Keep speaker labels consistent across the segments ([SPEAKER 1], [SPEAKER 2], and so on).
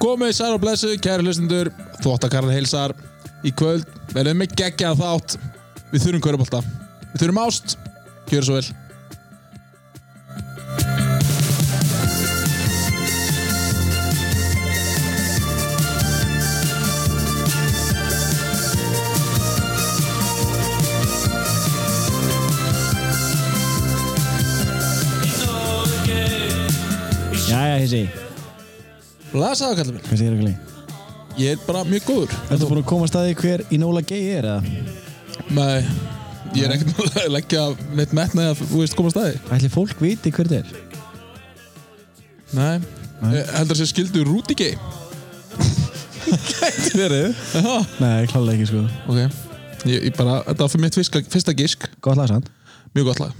[SPEAKER 1] komið sæl og blessu, kæri hlustundur Þvottakarl heilsar Í kvöld verðum við geggjað þátt Við þurfum körubolta Við þurfum ást, gjör svo vel
[SPEAKER 2] Jæja, Hissi,
[SPEAKER 1] Lasaðu kallum minn,
[SPEAKER 2] hvað segir ekki leið?
[SPEAKER 1] ég er bara mjög góður
[SPEAKER 2] Ertu búin að koma að staði hver í nóla gei er, eða?
[SPEAKER 1] Nei, ég er ekkert búinn að leggja Neitt metnaði að þú veist koma staði
[SPEAKER 2] Ætli fólk viti hver þetta er?
[SPEAKER 1] Nei, Nei. Eh, heldur að sér skildu Rúdigi
[SPEAKER 2] Verið?
[SPEAKER 1] Já,
[SPEAKER 2] Nei, klálega ekki, sko.
[SPEAKER 1] ok Ég, ég bara, þetta var fyrir mitt fiska, fyrsta gísk
[SPEAKER 2] Gott lag, sant?
[SPEAKER 1] Mjög gott lag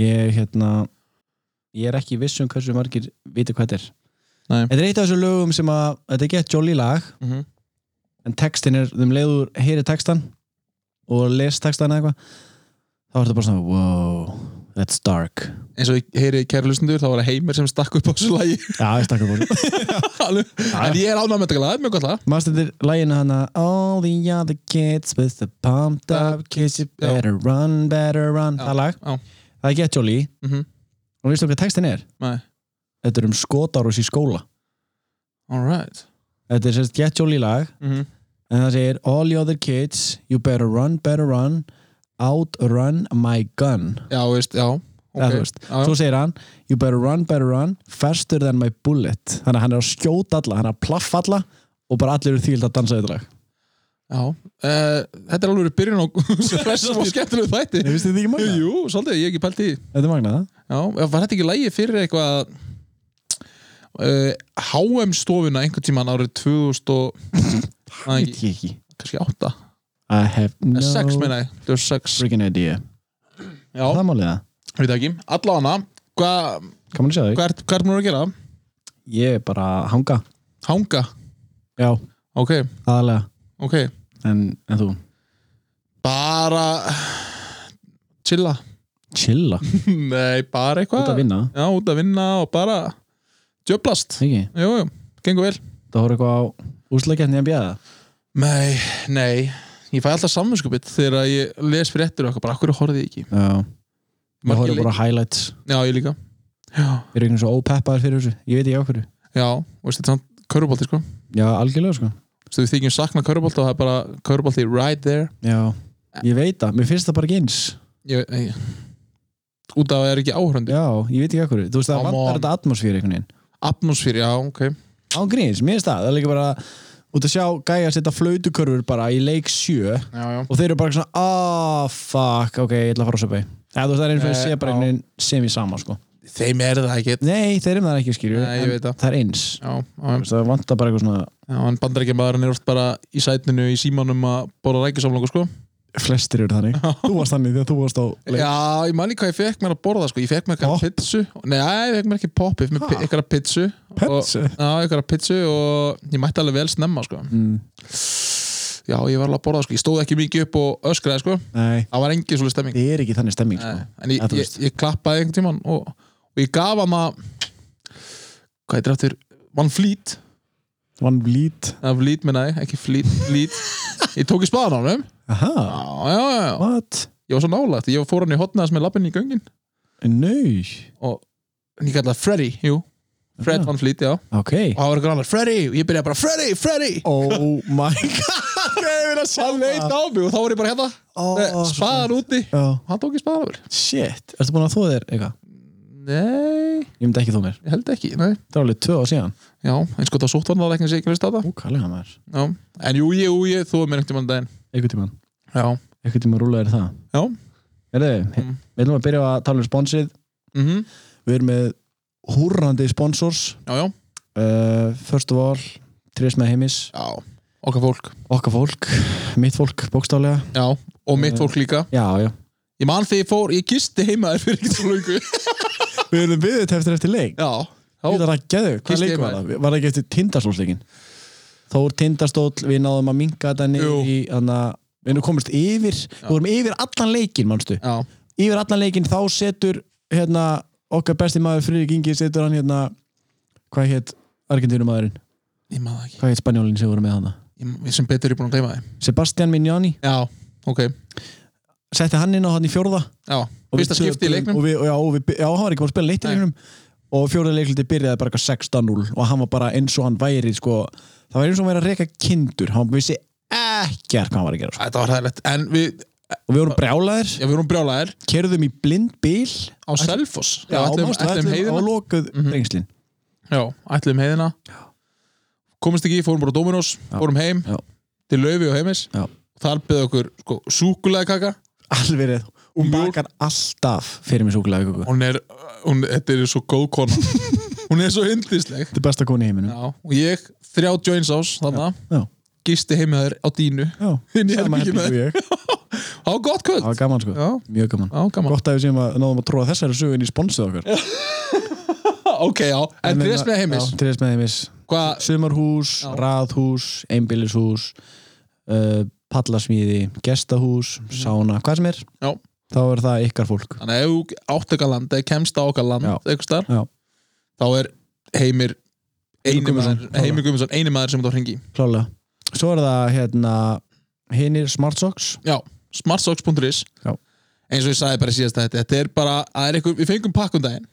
[SPEAKER 2] Ég, hérna, ég er ekki viss um hversu margir viti hvað þetta er.
[SPEAKER 1] Nei.
[SPEAKER 2] Þetta er eitt af þessu lögum sem að, þetta er gett jolly lag,
[SPEAKER 1] Mhm.
[SPEAKER 2] en textin er, þeim leiður, heyri textan og les textan eða eitthvað, þá er þetta bara svona, wow, that's dark.
[SPEAKER 1] Eins og ég heyri kæri hlustundur, þá var það heimir sem stakk upp á þessu lagi
[SPEAKER 2] Já, ég stakkar búin.
[SPEAKER 1] Alveg. En ég er ánægð með þetta lag, mjög gott lag
[SPEAKER 2] Mást þetta er lægina hana All the other kids with the pumped up kids You
[SPEAKER 1] Uh, Já.
[SPEAKER 2] better run, better run Það lag,
[SPEAKER 1] Já,
[SPEAKER 2] það er Get Jolly
[SPEAKER 1] mhm,
[SPEAKER 2] Og veistu hvað textin er?
[SPEAKER 1] nei,
[SPEAKER 2] Þetta er um skotárós í skóla
[SPEAKER 1] alright
[SPEAKER 2] Þetta er sérst Get Jolly lag
[SPEAKER 1] mhm
[SPEAKER 2] En það segir All the other kids You better run, better run Outrun my gun
[SPEAKER 1] Já, veist, já
[SPEAKER 2] okay.
[SPEAKER 1] ok.
[SPEAKER 2] þú veist,
[SPEAKER 1] Já, já.
[SPEAKER 2] Svo segir hann You better run, better run Faster than my bullet Þannig að hann er að skjóta alla Hann er að plaffa alla Og bara allir eru þýld að dansa þetta lag
[SPEAKER 1] já. Uh, Þetta er alveg byrjun á Þessum og skemmtilegu þætti
[SPEAKER 2] Nei, veistu þetta ekki magnað?
[SPEAKER 1] Jú, svolítið, ég hef ekki pælt í því.
[SPEAKER 2] Þetta er magnað það?
[SPEAKER 1] Já, var þetta ekki lægi fyrir eitthvað uh, HM stofuna einhvern tíman árið 2000 og Nei,
[SPEAKER 2] Veit
[SPEAKER 1] ekki,
[SPEAKER 2] ég ekki
[SPEAKER 1] kannski átta
[SPEAKER 2] I have no
[SPEAKER 1] no. Sex, meina ég, það var sex
[SPEAKER 2] freaking idea
[SPEAKER 1] Já,
[SPEAKER 2] Það málið það
[SPEAKER 1] við það ekki, allavega Hvað
[SPEAKER 2] Kannan sjá þig
[SPEAKER 1] hva ert hva er mér að gera?
[SPEAKER 2] Ég er bara að hanga
[SPEAKER 1] Hanga,
[SPEAKER 2] Já,
[SPEAKER 1] ok,
[SPEAKER 2] aðalega
[SPEAKER 1] ok
[SPEAKER 2] En, en þú?
[SPEAKER 1] Bara Chilla
[SPEAKER 2] Chilla Út
[SPEAKER 1] Nei, bara eitthvað
[SPEAKER 2] að vinna
[SPEAKER 1] Já, út að vinna og bara djöblast
[SPEAKER 2] Ekki
[SPEAKER 1] Jú, jú, gengur vel
[SPEAKER 2] Það voru eitthvað á úslagjarni að bjaða
[SPEAKER 1] Nei, nei Ég fæ alltaf samvinskupið þegar ég les fréttir og eitthvað, bara hverju horfið ég ekki
[SPEAKER 2] Já Það
[SPEAKER 1] Margir
[SPEAKER 2] voru bara highlights
[SPEAKER 1] Já, ég líka Já,
[SPEAKER 2] Við erum einhvern svo ópeppaðar fyrir þessu Ég veit ekki á hverju
[SPEAKER 1] já, og veist þetta er samt körubólti sko
[SPEAKER 2] Já, algjörlega sko
[SPEAKER 1] Svo við þykjum sakna körubólta og það er bara körubólti right there
[SPEAKER 2] Já Ég veit það Mér finnst það bara ekki eins
[SPEAKER 1] ég, ég, Út af að það er ekki áhörandi
[SPEAKER 2] Já, ég veit ekki á hverju Þú veist það
[SPEAKER 1] Come on.
[SPEAKER 2] vantar þetta atmosfíri einhvern veginn
[SPEAKER 1] Atmosfýr, já, ok
[SPEAKER 2] Án gríns, mér finnst það Það er líka bara Út að sjá gæja setja flautukörfur bara í leik sjö
[SPEAKER 1] Já, já
[SPEAKER 2] og þeir eru bara svona ah fuck, ok, ég ætla að fara á söpau eða þú veist það er eins og ég
[SPEAKER 1] Nei,
[SPEAKER 2] sé
[SPEAKER 1] já.
[SPEAKER 2] bara einhvern veginn sem ég sama sko
[SPEAKER 1] Þeim er það ekki
[SPEAKER 2] nei, þeir eru með það ekki skilju
[SPEAKER 1] Nei, ég veit það.
[SPEAKER 2] það er eins
[SPEAKER 1] Já, já,
[SPEAKER 2] Þú veist, það vantar bara eitthvað svona
[SPEAKER 1] já, en bandarækjamaðurinn er oft bara í sætninu í símanum að bóra rækisamlóku sko
[SPEAKER 2] flestir eru þannig þú varst þannig þegar þú varst á leik
[SPEAKER 1] Já, ég man líka hvað ég fekk mér að borða sko. Ég fekk mér eitthvað
[SPEAKER 2] Popp?
[SPEAKER 1] pizzu Nei, ég fekk mér ekki popp, ég fekk mér
[SPEAKER 2] Ha?
[SPEAKER 1] eitthvað pizzu
[SPEAKER 2] Pizzu?
[SPEAKER 1] Og, já, eitthvað pizzu og ég mætti alveg vel snemma sko.
[SPEAKER 2] mm,
[SPEAKER 1] Já, ég var alveg að borða sko. Ég stóð ekki mikið upp og öskraði sko.
[SPEAKER 2] nei,
[SPEAKER 1] Það var engin svolítið stemming
[SPEAKER 2] þið er ekki þannig stemming sko.
[SPEAKER 1] Nei, En ég,
[SPEAKER 2] Ja, þú
[SPEAKER 1] ég,
[SPEAKER 2] veist.
[SPEAKER 1] ég klappaði einhvern tímann og, og ég gaf hann að Hvað heitir aftur? Van Fleet
[SPEAKER 2] one bleed
[SPEAKER 1] Eða Fleet, minna ég, ekki Fleet, Fleet Ég tók í spaðan á hann
[SPEAKER 2] aha,
[SPEAKER 1] Já, já, já, já
[SPEAKER 2] what
[SPEAKER 1] Ég var svo nálægt Ég fór hann í hotnaðas með lappinni í göngin
[SPEAKER 2] nei,
[SPEAKER 1] og en ég kallaði það Freddy, jú Fred
[SPEAKER 2] Já.
[SPEAKER 1] Van Fleet, já og
[SPEAKER 2] ok
[SPEAKER 1] það var eitthvað annar, Freddy, og ég byrjaði bara Freddy, Freddy
[SPEAKER 2] oh my god
[SPEAKER 1] hann leit á mig og þá var ég bara hérna
[SPEAKER 2] Ó,
[SPEAKER 1] oh,
[SPEAKER 2] svo
[SPEAKER 1] spaðan úti
[SPEAKER 2] Já.
[SPEAKER 1] hann tók í spaðan á mér
[SPEAKER 2] shit, ertu búin að þóða þér eitthvað
[SPEAKER 1] nei,
[SPEAKER 2] ég myndi ekki þó mér,
[SPEAKER 1] ég held ekki, nei
[SPEAKER 2] það var alveg tvö á síðan
[SPEAKER 1] já, eins gott á sóttvarnalækning sé ekki veist þetta
[SPEAKER 2] ú, kallega maður,
[SPEAKER 1] já, en jú, ég, jú, ég, þú er mér einhvern tímann daginn
[SPEAKER 2] einhvern tíman
[SPEAKER 1] já,
[SPEAKER 2] einhvern tíman rúlaðir það
[SPEAKER 1] já,
[SPEAKER 2] Herðu, við ætlum að byrja á að tala um sponsið
[SPEAKER 1] mhm,
[SPEAKER 2] Við erum með húrrandi sponsors
[SPEAKER 1] já, já
[SPEAKER 2] uh, First of all, Trés með heimis
[SPEAKER 1] já, okkar fólk,
[SPEAKER 2] Okkar fólk, mitt fólk, bókstálega
[SPEAKER 1] já og mitt fólk líka,
[SPEAKER 2] Já, já
[SPEAKER 1] ég man þegar ég fór ég gisti heima þér fyrir ekki svo lungu
[SPEAKER 2] Við erum byggðið eftir eftir leik
[SPEAKER 1] já,
[SPEAKER 2] Við
[SPEAKER 1] já,
[SPEAKER 2] erum að geðu,
[SPEAKER 1] Gisti
[SPEAKER 2] hvað leik var
[SPEAKER 1] heima.
[SPEAKER 2] það? Var það ekki eftir tindastólsleikin? Þór tindastóll, við náðum að minka
[SPEAKER 1] Jú.
[SPEAKER 2] þetta niður í Þannig að við erum komist yfir Við vorum yfir allan leikin, manstu
[SPEAKER 1] já,
[SPEAKER 2] Yfir allan leikin, þá setur hérna, okkar besti maður Friðrik Ingi setur hann hérna, hvað hétt Argentínum maðurinn
[SPEAKER 1] Ég maður það ekki.
[SPEAKER 2] Hvað heit spanjólinn sem voru með hana?
[SPEAKER 1] Ég, ég sem betur er ég búin að gleyma þið.
[SPEAKER 2] Sebastian Mignani
[SPEAKER 1] Já, ok.
[SPEAKER 2] Setti hann inn á hann í fjórða
[SPEAKER 1] Já,
[SPEAKER 2] og
[SPEAKER 1] fyrsta
[SPEAKER 2] við
[SPEAKER 1] skipti í
[SPEAKER 2] töpuðum-
[SPEAKER 1] leiknum.
[SPEAKER 2] og við, já, og við, já, hann var ekki bara að spila leitt í
[SPEAKER 1] Nei.
[SPEAKER 2] leiknum og fjórða leikluti byrjaði bara eitthvað 16-0 og hann var bara eins og hann væri sko, það var eins og hann væri að reka kindur hann vissi ekkert hvað hann var að gera sko.
[SPEAKER 1] Þetta var hæðilegt. En við,
[SPEAKER 2] og við vorum brjálaðir,
[SPEAKER 1] já, við vorum brjálæðir
[SPEAKER 2] kerðum í blind bíl
[SPEAKER 1] á Selfoss.
[SPEAKER 2] já,
[SPEAKER 1] ætlum,
[SPEAKER 2] mástu,
[SPEAKER 1] ætlum
[SPEAKER 2] ætlum, á
[SPEAKER 1] heiðina.
[SPEAKER 2] lokuð
[SPEAKER 1] Mhm.
[SPEAKER 2] reyngslin
[SPEAKER 1] Já, ætlum heiðina. Komist ekki, fórum bara á Dominos,
[SPEAKER 2] Já.
[SPEAKER 1] fórum heim
[SPEAKER 2] Já.
[SPEAKER 1] til Laufi og heimis.
[SPEAKER 2] Já.
[SPEAKER 1] Þar beði okkur sko, súkulega kaka.
[SPEAKER 2] alveg rétt, hún
[SPEAKER 1] mjólk.
[SPEAKER 2] bakar alltaf fyrir mig súkulega köku
[SPEAKER 1] Hún er, hún, þetta er svo góð kona. hún er svo yndisleg.
[SPEAKER 2] þetta er besta koni í heiminum
[SPEAKER 1] Já, og ég, þrjá joins ás, þannig
[SPEAKER 2] já,
[SPEAKER 1] gisti heima þér á dínu.
[SPEAKER 2] já,
[SPEAKER 1] Inn í
[SPEAKER 2] sama
[SPEAKER 1] herberginu.
[SPEAKER 2] herbergi og ég.
[SPEAKER 1] Á gott
[SPEAKER 2] það var
[SPEAKER 1] kvöld.
[SPEAKER 2] gaman sko,
[SPEAKER 1] Já,
[SPEAKER 2] mjög gaman
[SPEAKER 1] já, gaman.
[SPEAKER 2] gott að við séum að náðum að tróða þessari sögu inn í sponsið okkar
[SPEAKER 1] Ok, já, en dress
[SPEAKER 2] hérna-
[SPEAKER 1] með heimis
[SPEAKER 2] Trés með heimis
[SPEAKER 1] Hvað,
[SPEAKER 2] Sumarhús,
[SPEAKER 1] Já.
[SPEAKER 2] raðhús, einbýlishús uh, Pallasmíði Gestahús, sána, hvað sem er
[SPEAKER 1] Mhm. Já.
[SPEAKER 2] Þá er það ykkar fólk
[SPEAKER 1] þannig að ef átt okkar land eða kemst á okkar land
[SPEAKER 2] Já.
[SPEAKER 1] einhvers staðar,
[SPEAKER 2] Já.
[SPEAKER 1] þá er heimir eini
[SPEAKER 2] Guðmundsson,
[SPEAKER 1] maður, heimir Guðmundsson, eini maður sem þú hringi í.
[SPEAKER 2] Klálega Svo er það hérna Hinnir Smart Socks
[SPEAKER 1] Já, smartsocks.is
[SPEAKER 2] Já.
[SPEAKER 1] eins og ég sagði bara síðast að þetta þetta er bara, að er einhver, við fengum um pakkundaginn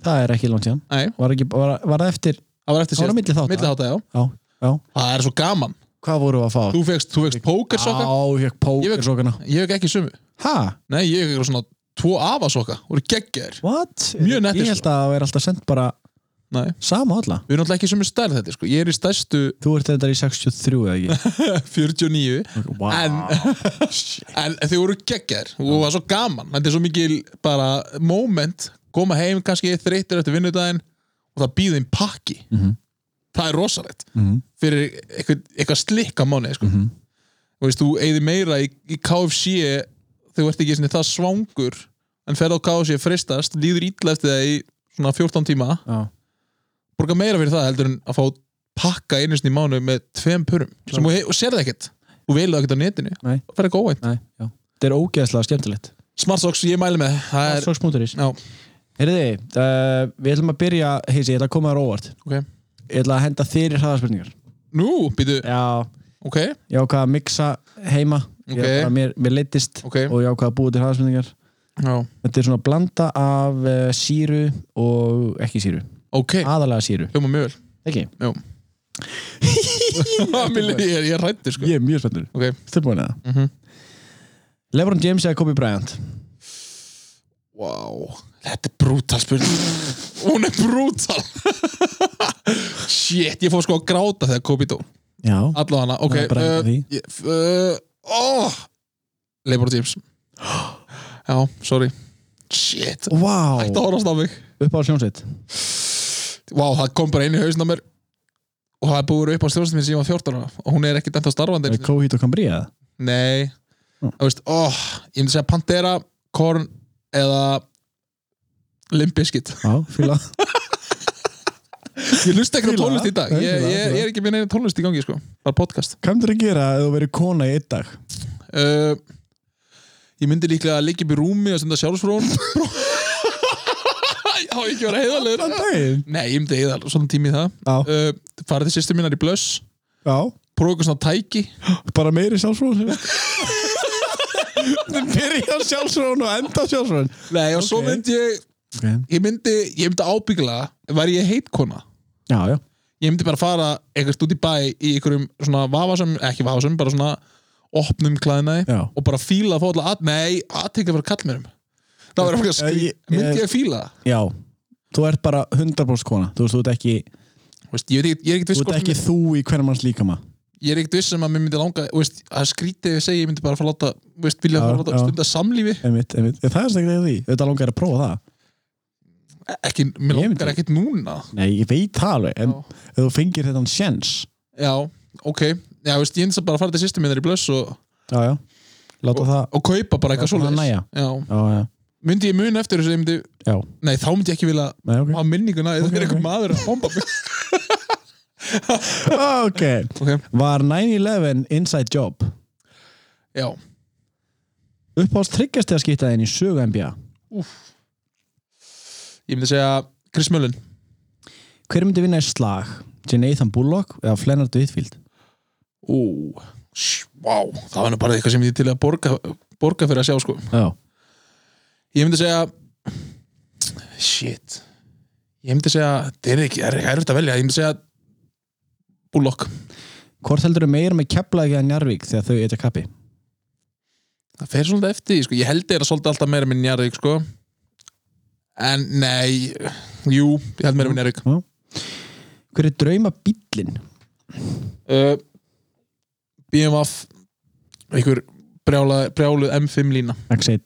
[SPEAKER 2] Það er ekki langt síðan
[SPEAKER 1] Nei.
[SPEAKER 2] var, ekki, var, var það eftir,
[SPEAKER 1] það var eftir
[SPEAKER 2] það var á
[SPEAKER 1] síðast,
[SPEAKER 2] milli þátt
[SPEAKER 1] milliháta, já
[SPEAKER 2] Já, já
[SPEAKER 1] það er svo gaman,
[SPEAKER 2] Hvað voru að fá?
[SPEAKER 1] þú fegst, þú fegst pókersokka,
[SPEAKER 2] Já, ég fekk
[SPEAKER 1] Ég
[SPEAKER 2] póker sokkana
[SPEAKER 1] ég fekk ekki sumu
[SPEAKER 2] Ha?
[SPEAKER 1] nei, ég fekk eitthvað svona tvo afasokka voru geggjaðir,
[SPEAKER 2] What?
[SPEAKER 1] Mjög nettir,
[SPEAKER 2] Ég held að það er alltaf sendt bara
[SPEAKER 1] nei
[SPEAKER 2] sama alla
[SPEAKER 1] við erum alltaf ekki sumu stærð þetta, sko, ég er í stærstu
[SPEAKER 2] Þú ert þetta í 63 eða ekki?
[SPEAKER 1] 49
[SPEAKER 2] Wow.
[SPEAKER 1] En-
[SPEAKER 2] Ah.
[SPEAKER 1] En þið voru geggjar og það var svo gaman Þetta er svo mikil bara moment koma heim kannski þreyttur eftir vinnudaginn og það býði þeim pakki
[SPEAKER 2] Mhm.
[SPEAKER 1] Það er rosalegt
[SPEAKER 2] Mhm.
[SPEAKER 1] fyrir eitthvað, eitthvað slikka mánu sko.
[SPEAKER 2] Mhm.
[SPEAKER 1] og veist, þú eigði meira í, í KFC þegar þú ert ekki sinni, það svangur en ferð á KFC fristast líður ítla eftir það í svona 14 tíma
[SPEAKER 2] Já.
[SPEAKER 1] borga meira fyrir það heldur en að fá pakka einu sinni í mánu með tveim purum sem þú he- og sérði ekkert og veilu ekkert á netinu
[SPEAKER 2] Nei.
[SPEAKER 1] það fer ekki óvænt
[SPEAKER 2] Nei, já. Þetta er ógeðslega skemmtilegt.
[SPEAKER 1] Smartsocks, ég mæli með það er,
[SPEAKER 2] Svagsmúturís.
[SPEAKER 1] já,
[SPEAKER 2] Herriði, uh, við ætlum að byrja, heisi, ég ætla að koma þér á óvart.
[SPEAKER 1] ok
[SPEAKER 2] Ég ætla að henda þér í hraðarspurningar.
[SPEAKER 1] Nú, býtu,
[SPEAKER 2] Já.
[SPEAKER 1] ok,
[SPEAKER 2] Ég ákvað að mixa heima. Ég
[SPEAKER 1] Ok.
[SPEAKER 2] bara- Mér, mér leittist
[SPEAKER 1] ok
[SPEAKER 2] og ég ákvað að búa til hraðarspurningar.
[SPEAKER 1] já.
[SPEAKER 2] Þetta er svona blanda af uh, síru og ekki síru.
[SPEAKER 1] Ok,
[SPEAKER 2] Aðalega síru.
[SPEAKER 1] hljóma mjög
[SPEAKER 2] Ekki?
[SPEAKER 1] vel Mér líður- Ég, ég rætti sko
[SPEAKER 2] Ég er mjög spenntur.
[SPEAKER 1] Ok,
[SPEAKER 2] Stilbúin eða?
[SPEAKER 1] mhm
[SPEAKER 2] Lebron James eða Kobe Bryant?
[SPEAKER 1] Wow, þetta er brútal spurning Hún er brútal Shit, ég fór sko að gráta þegar Kobe dó
[SPEAKER 2] Já.
[SPEAKER 1] Alla hana, ok
[SPEAKER 2] Það er bara
[SPEAKER 1] uh,
[SPEAKER 2] að því.
[SPEAKER 1] ég- uh, oh, Leifur James Já, sorry Shit,
[SPEAKER 2] Vá.
[SPEAKER 1] hægt að horfast á mig
[SPEAKER 2] Upp á sjónsveit.
[SPEAKER 1] Vá, það kom bara einu hausin á mér og það er búið að vera upp á stjórnstum minn sem ég var 14 ára og hún er ekkert ennþá starfandi einu sinni.
[SPEAKER 2] Kóhít og Kambri eða?
[SPEAKER 1] Nei,
[SPEAKER 2] Mm.
[SPEAKER 1] þú veist, ó, ég myndi segja Pantera, Korn eða Limp Bizkit
[SPEAKER 2] Já, fíla.
[SPEAKER 1] Ég lusta ekki á
[SPEAKER 2] Fíla það.
[SPEAKER 1] tónlist í dag
[SPEAKER 2] Nei,
[SPEAKER 1] Ég,
[SPEAKER 2] fíla það,
[SPEAKER 1] ég,
[SPEAKER 2] fíla
[SPEAKER 1] ég er ekki minn einu tónlist í gangi, sko bara podcast
[SPEAKER 2] Hvað myndir að gera ef þú verið kona í einn dag?
[SPEAKER 1] uh, Ég myndi líklega að leikja upp í rúmi og senda sjálfsfrón Já, ekki vera heiðalegur
[SPEAKER 2] daginn?
[SPEAKER 1] Nei, ég myndi heiðalegur, svona tími í það
[SPEAKER 2] Já.
[SPEAKER 1] uh, Farið til sýstur minnar í blöss
[SPEAKER 2] Já,
[SPEAKER 1] Prófa eitthvað svona tæki
[SPEAKER 2] bara meiri sjálfsfrón Þú byrja sjálfsfrón og enda sjálfsfrón
[SPEAKER 1] Nei, og svo
[SPEAKER 2] Ok.
[SPEAKER 1] myndi ég
[SPEAKER 2] okay.
[SPEAKER 1] ég myndi, ég myndi ábyggla væri ég heitkona
[SPEAKER 2] Já, já,
[SPEAKER 1] ég myndi bara fara eitthvað út í bæ í einhverjum svona vafasum, ekki vafasum bara svona opnum klæðinaði
[SPEAKER 2] já
[SPEAKER 1] og bara fíla að fá alltaf að, nei, aðtekla fyrir kallmjörum það var eitthvað
[SPEAKER 2] Ég-
[SPEAKER 1] skrýt
[SPEAKER 2] ég-
[SPEAKER 1] myndi ég fíla það?
[SPEAKER 2] Já, þú ert bara 100% kona Þú veist, þú ert ekki,
[SPEAKER 1] Þú veist, ég, veit ekki- ég er ekkert
[SPEAKER 2] þú,
[SPEAKER 1] viss
[SPEAKER 2] ert
[SPEAKER 1] hvort
[SPEAKER 2] ekki
[SPEAKER 1] mér-
[SPEAKER 2] þú í hverjum manns líkama
[SPEAKER 1] ég er ekkert viss sem að mér myndi langa þú veist, að skrýti ef ég segi, ég myndi bara fara að láta þú veist, vilja
[SPEAKER 2] Já,
[SPEAKER 1] fara að láta
[SPEAKER 2] já.
[SPEAKER 1] stunda samlífi
[SPEAKER 2] einmitt, einmitt. Ég, Það er snakkt eða því, þetta langar að prófa það
[SPEAKER 1] ekki, mér
[SPEAKER 2] Ég myndi-
[SPEAKER 1] langar ekkert núna
[SPEAKER 2] Nei, ég veit það alveg En
[SPEAKER 1] Já.
[SPEAKER 2] ef þú fengir þetta sjens
[SPEAKER 1] já, ok já, þú veist, ég myndi bara að fara til sýstum minnar í blöss og,
[SPEAKER 2] Já, já, láta það
[SPEAKER 1] og kaupa bara eitthvað
[SPEAKER 2] Láta það
[SPEAKER 1] svoleiðis
[SPEAKER 2] nægja.
[SPEAKER 1] já,
[SPEAKER 2] Já, já,
[SPEAKER 1] myndi ég mun eftir þessu ég myndi,
[SPEAKER 2] já,
[SPEAKER 1] nei, þá myndi ég ekki vilja
[SPEAKER 2] nei, ok
[SPEAKER 1] á minninguna eða
[SPEAKER 2] Ok,
[SPEAKER 1] okay, er einhver
[SPEAKER 2] ok.
[SPEAKER 1] maður að bomba mig
[SPEAKER 2] Ok,
[SPEAKER 1] okay.
[SPEAKER 2] var 9-11 inside job?
[SPEAKER 1] já,
[SPEAKER 2] Uppáðs tryggjast eða skýtaðin í sögu NBA?
[SPEAKER 1] ég myndi segja Chris Mullin
[SPEAKER 2] Hver myndi vinna í slag? til Nathan Bullock eða Flennard Whitfield
[SPEAKER 1] Ú, vá, það var nú bara eitthvað sem ég er til að borga, borga fyrir að sjá sko
[SPEAKER 2] Já,
[SPEAKER 1] Ég myndi segja Shit Ég myndi segja, það er ekki, það er ekki erfitt að velja Ég myndi segja Bullock
[SPEAKER 2] hvort heldur þau meira með Keflavík eða Njarvík þegar þau eitthvað kappi
[SPEAKER 1] Það fer svolítið eftir, því, sko Ég held þeir að svolítið alltaf meira minn Njarvík, sko En nei Jú, ég held meira minn Njarvík
[SPEAKER 2] Hver er drauma bíllinn?
[SPEAKER 1] uh, BMF Einhver brjála, brjáluð M5 lína
[SPEAKER 2] X1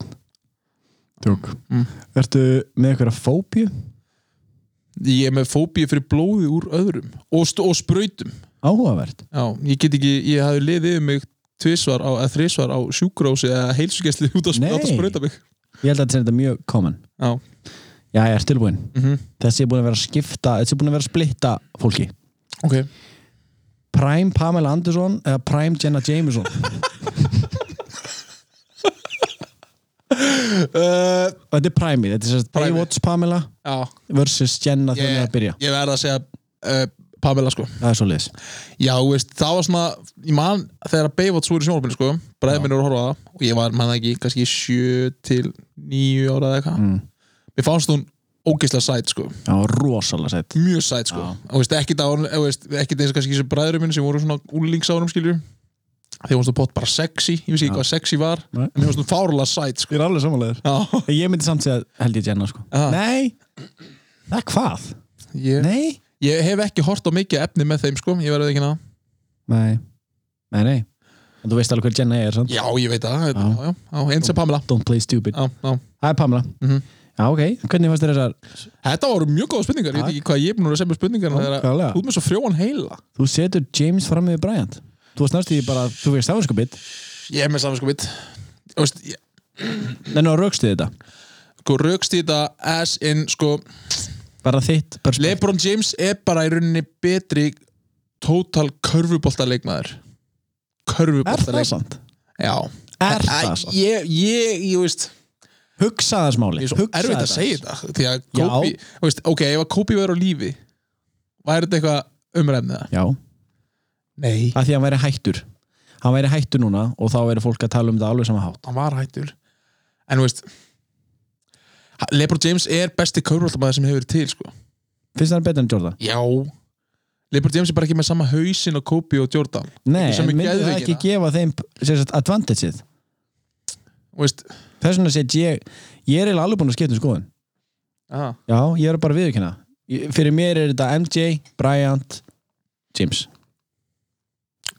[SPEAKER 2] Tjók
[SPEAKER 1] Mm.
[SPEAKER 2] Ertu með einhverja fóbíu?
[SPEAKER 1] Ég er með fóbíu fyrir blóði úr öðrum Og, st- og sprautum
[SPEAKER 2] Áhugavert
[SPEAKER 1] Já, ég get ekki, ég hafði liðið um mig tvisvar á, eða þrisvar á sjúkrósi eða heilsugæsli út að,
[SPEAKER 2] Nei.
[SPEAKER 1] át að sprauta mig
[SPEAKER 2] Ég held að þetta sé þetta mjög common
[SPEAKER 1] Já,
[SPEAKER 2] Já, ég er tilbúin
[SPEAKER 1] mhm,
[SPEAKER 2] Þessi er búin að vera að skipta Þessi er búin að vera að splitta fólki
[SPEAKER 1] ok
[SPEAKER 2] Prime Pamela Anderson eða Prime Jenna Jameson
[SPEAKER 1] uh,
[SPEAKER 2] Eh, Þetta er Prime, þetta er sérst
[SPEAKER 1] Prime-ið.
[SPEAKER 2] Baywatch Pamela
[SPEAKER 1] Já,
[SPEAKER 2] versus Jenna þegar hún
[SPEAKER 1] ég,
[SPEAKER 2] er að byrja
[SPEAKER 1] ég verð að segja uh, Pamela sko
[SPEAKER 2] Það er svo liðs
[SPEAKER 1] Já, þú veist, það var svona, ég man þegar að Baywatch voru í sjónvarpinu sko bræðið minn voru að horfa á það og ég var, manna ekki, kannski 7 til 9 ára eða eitthvað
[SPEAKER 2] Mm.
[SPEAKER 1] Mér fannst hún ógeðslega sæt sko
[SPEAKER 2] Já, rosalega sett
[SPEAKER 1] mjög sæt sko
[SPEAKER 2] Já.
[SPEAKER 1] og veist, ekkit, á, og veist, ekkit eins og kannski þessi bræðurum minn sem voru svona úlingsárum skilju þegar hún stóð pott bara sexy ég vissi ekki hvað sexy var
[SPEAKER 2] Nei.
[SPEAKER 1] en hún stóð fárlega sæt sko
[SPEAKER 2] Ég er alveg samanlegur
[SPEAKER 1] já,
[SPEAKER 2] Eh, Ég myndi samt segja held ég Jenna sko
[SPEAKER 1] Já.
[SPEAKER 2] Nei Það er hvað?
[SPEAKER 1] ég,
[SPEAKER 2] Nei
[SPEAKER 1] ég hef ekki hort á mikið efni með þeim sko ég verði ekki ná
[SPEAKER 2] Nei Nei, nei En þú veist alveg hver Jenna er, sant?
[SPEAKER 1] já, ég veit það, já. Já, já, eins og Pamela
[SPEAKER 2] Don't play stupid
[SPEAKER 1] já, já.
[SPEAKER 2] Það er Pamela
[SPEAKER 1] Mhm.
[SPEAKER 2] Já, ok Hvernig fannst þér þessar
[SPEAKER 1] þetta voru mjög góða spurningar ég veit ekki hvað ég er búin að semja spurningar
[SPEAKER 2] Já, klálega.
[SPEAKER 1] þú ert með svo frjóan heila
[SPEAKER 2] Þú setur James fram með Bryant Þú varst næstu í bara Þú veist það var sko bit
[SPEAKER 1] ég er með saman sko mitt veist, ég,
[SPEAKER 2] Nei, nú raukstu þetta
[SPEAKER 1] sko, rökstíta as in sko
[SPEAKER 2] Bara þitt perspektíf.
[SPEAKER 1] LeBron James er bara í rauninni betri total körfubolta leikmaður
[SPEAKER 2] Er
[SPEAKER 1] körfubolta
[SPEAKER 2] það sant?
[SPEAKER 1] já
[SPEAKER 2] Er
[SPEAKER 1] Æ,
[SPEAKER 2] það sant?
[SPEAKER 1] ég, ég, ég veist
[SPEAKER 2] Hugsa það smáli
[SPEAKER 1] ég er svo
[SPEAKER 2] Hugsa
[SPEAKER 1] erfitt að
[SPEAKER 2] það.
[SPEAKER 1] segja þetta því að
[SPEAKER 2] Já.
[SPEAKER 1] Kobe, þú veist, ok, ef að Kobe verður á lífi væri þetta eitthvað umræfnið
[SPEAKER 2] Já
[SPEAKER 1] nei,
[SPEAKER 2] Af því að hann væri hættur Hann væri hættur núna Og þá væri fólk að tala um þetta alveg sama hátt
[SPEAKER 1] hann var hættur en þú veist LeBron James er besti körfuboltamaður sem hefur verið til sko.
[SPEAKER 2] Finnst það betur en Jordan?
[SPEAKER 1] já LeBron James er bara ekki með sama hausinn og Kobe og Jordan
[SPEAKER 2] Nei,
[SPEAKER 1] sem
[SPEAKER 2] en
[SPEAKER 1] er
[SPEAKER 2] myndi það
[SPEAKER 1] geðveikina.
[SPEAKER 2] ekki gefa þeim sem sagt, advantageið
[SPEAKER 1] þú veist
[SPEAKER 2] Þess vegna set ég Ég er eiginlega alveg búin að skipta um skoðun
[SPEAKER 1] ah.
[SPEAKER 2] Já, ég er bara viðurkynna Fyrir mér er þetta MJ, Bryant, James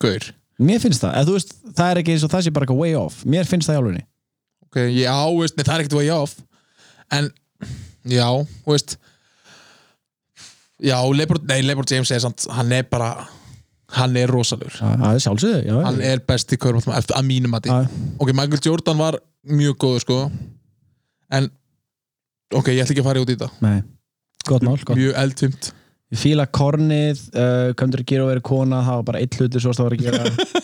[SPEAKER 1] gaur
[SPEAKER 2] Mér finnst það, eða þú veist, það er ekki eins og það sé bara eitthvað way off Mér finnst það í álunni
[SPEAKER 1] ok, já, veist, nei, það er ekkert way off en, já, veist já, Lebron, nei, Lebron James er samt, hann er bara hann er rosalur
[SPEAKER 2] Það er sjálfsögðu, já
[SPEAKER 1] hann er besti körbáttum að mínum að því
[SPEAKER 2] Já.
[SPEAKER 1] ok, Michael Jordan var mjög góður sko en ok, ég ætla ekki að fara út í þetta
[SPEAKER 2] Nei, gott mál, gott
[SPEAKER 1] mjög eldfimt
[SPEAKER 2] Ég fíla kornið, uh, komður að gera og vera kona Það var bara eitt hlutur svo það var að gera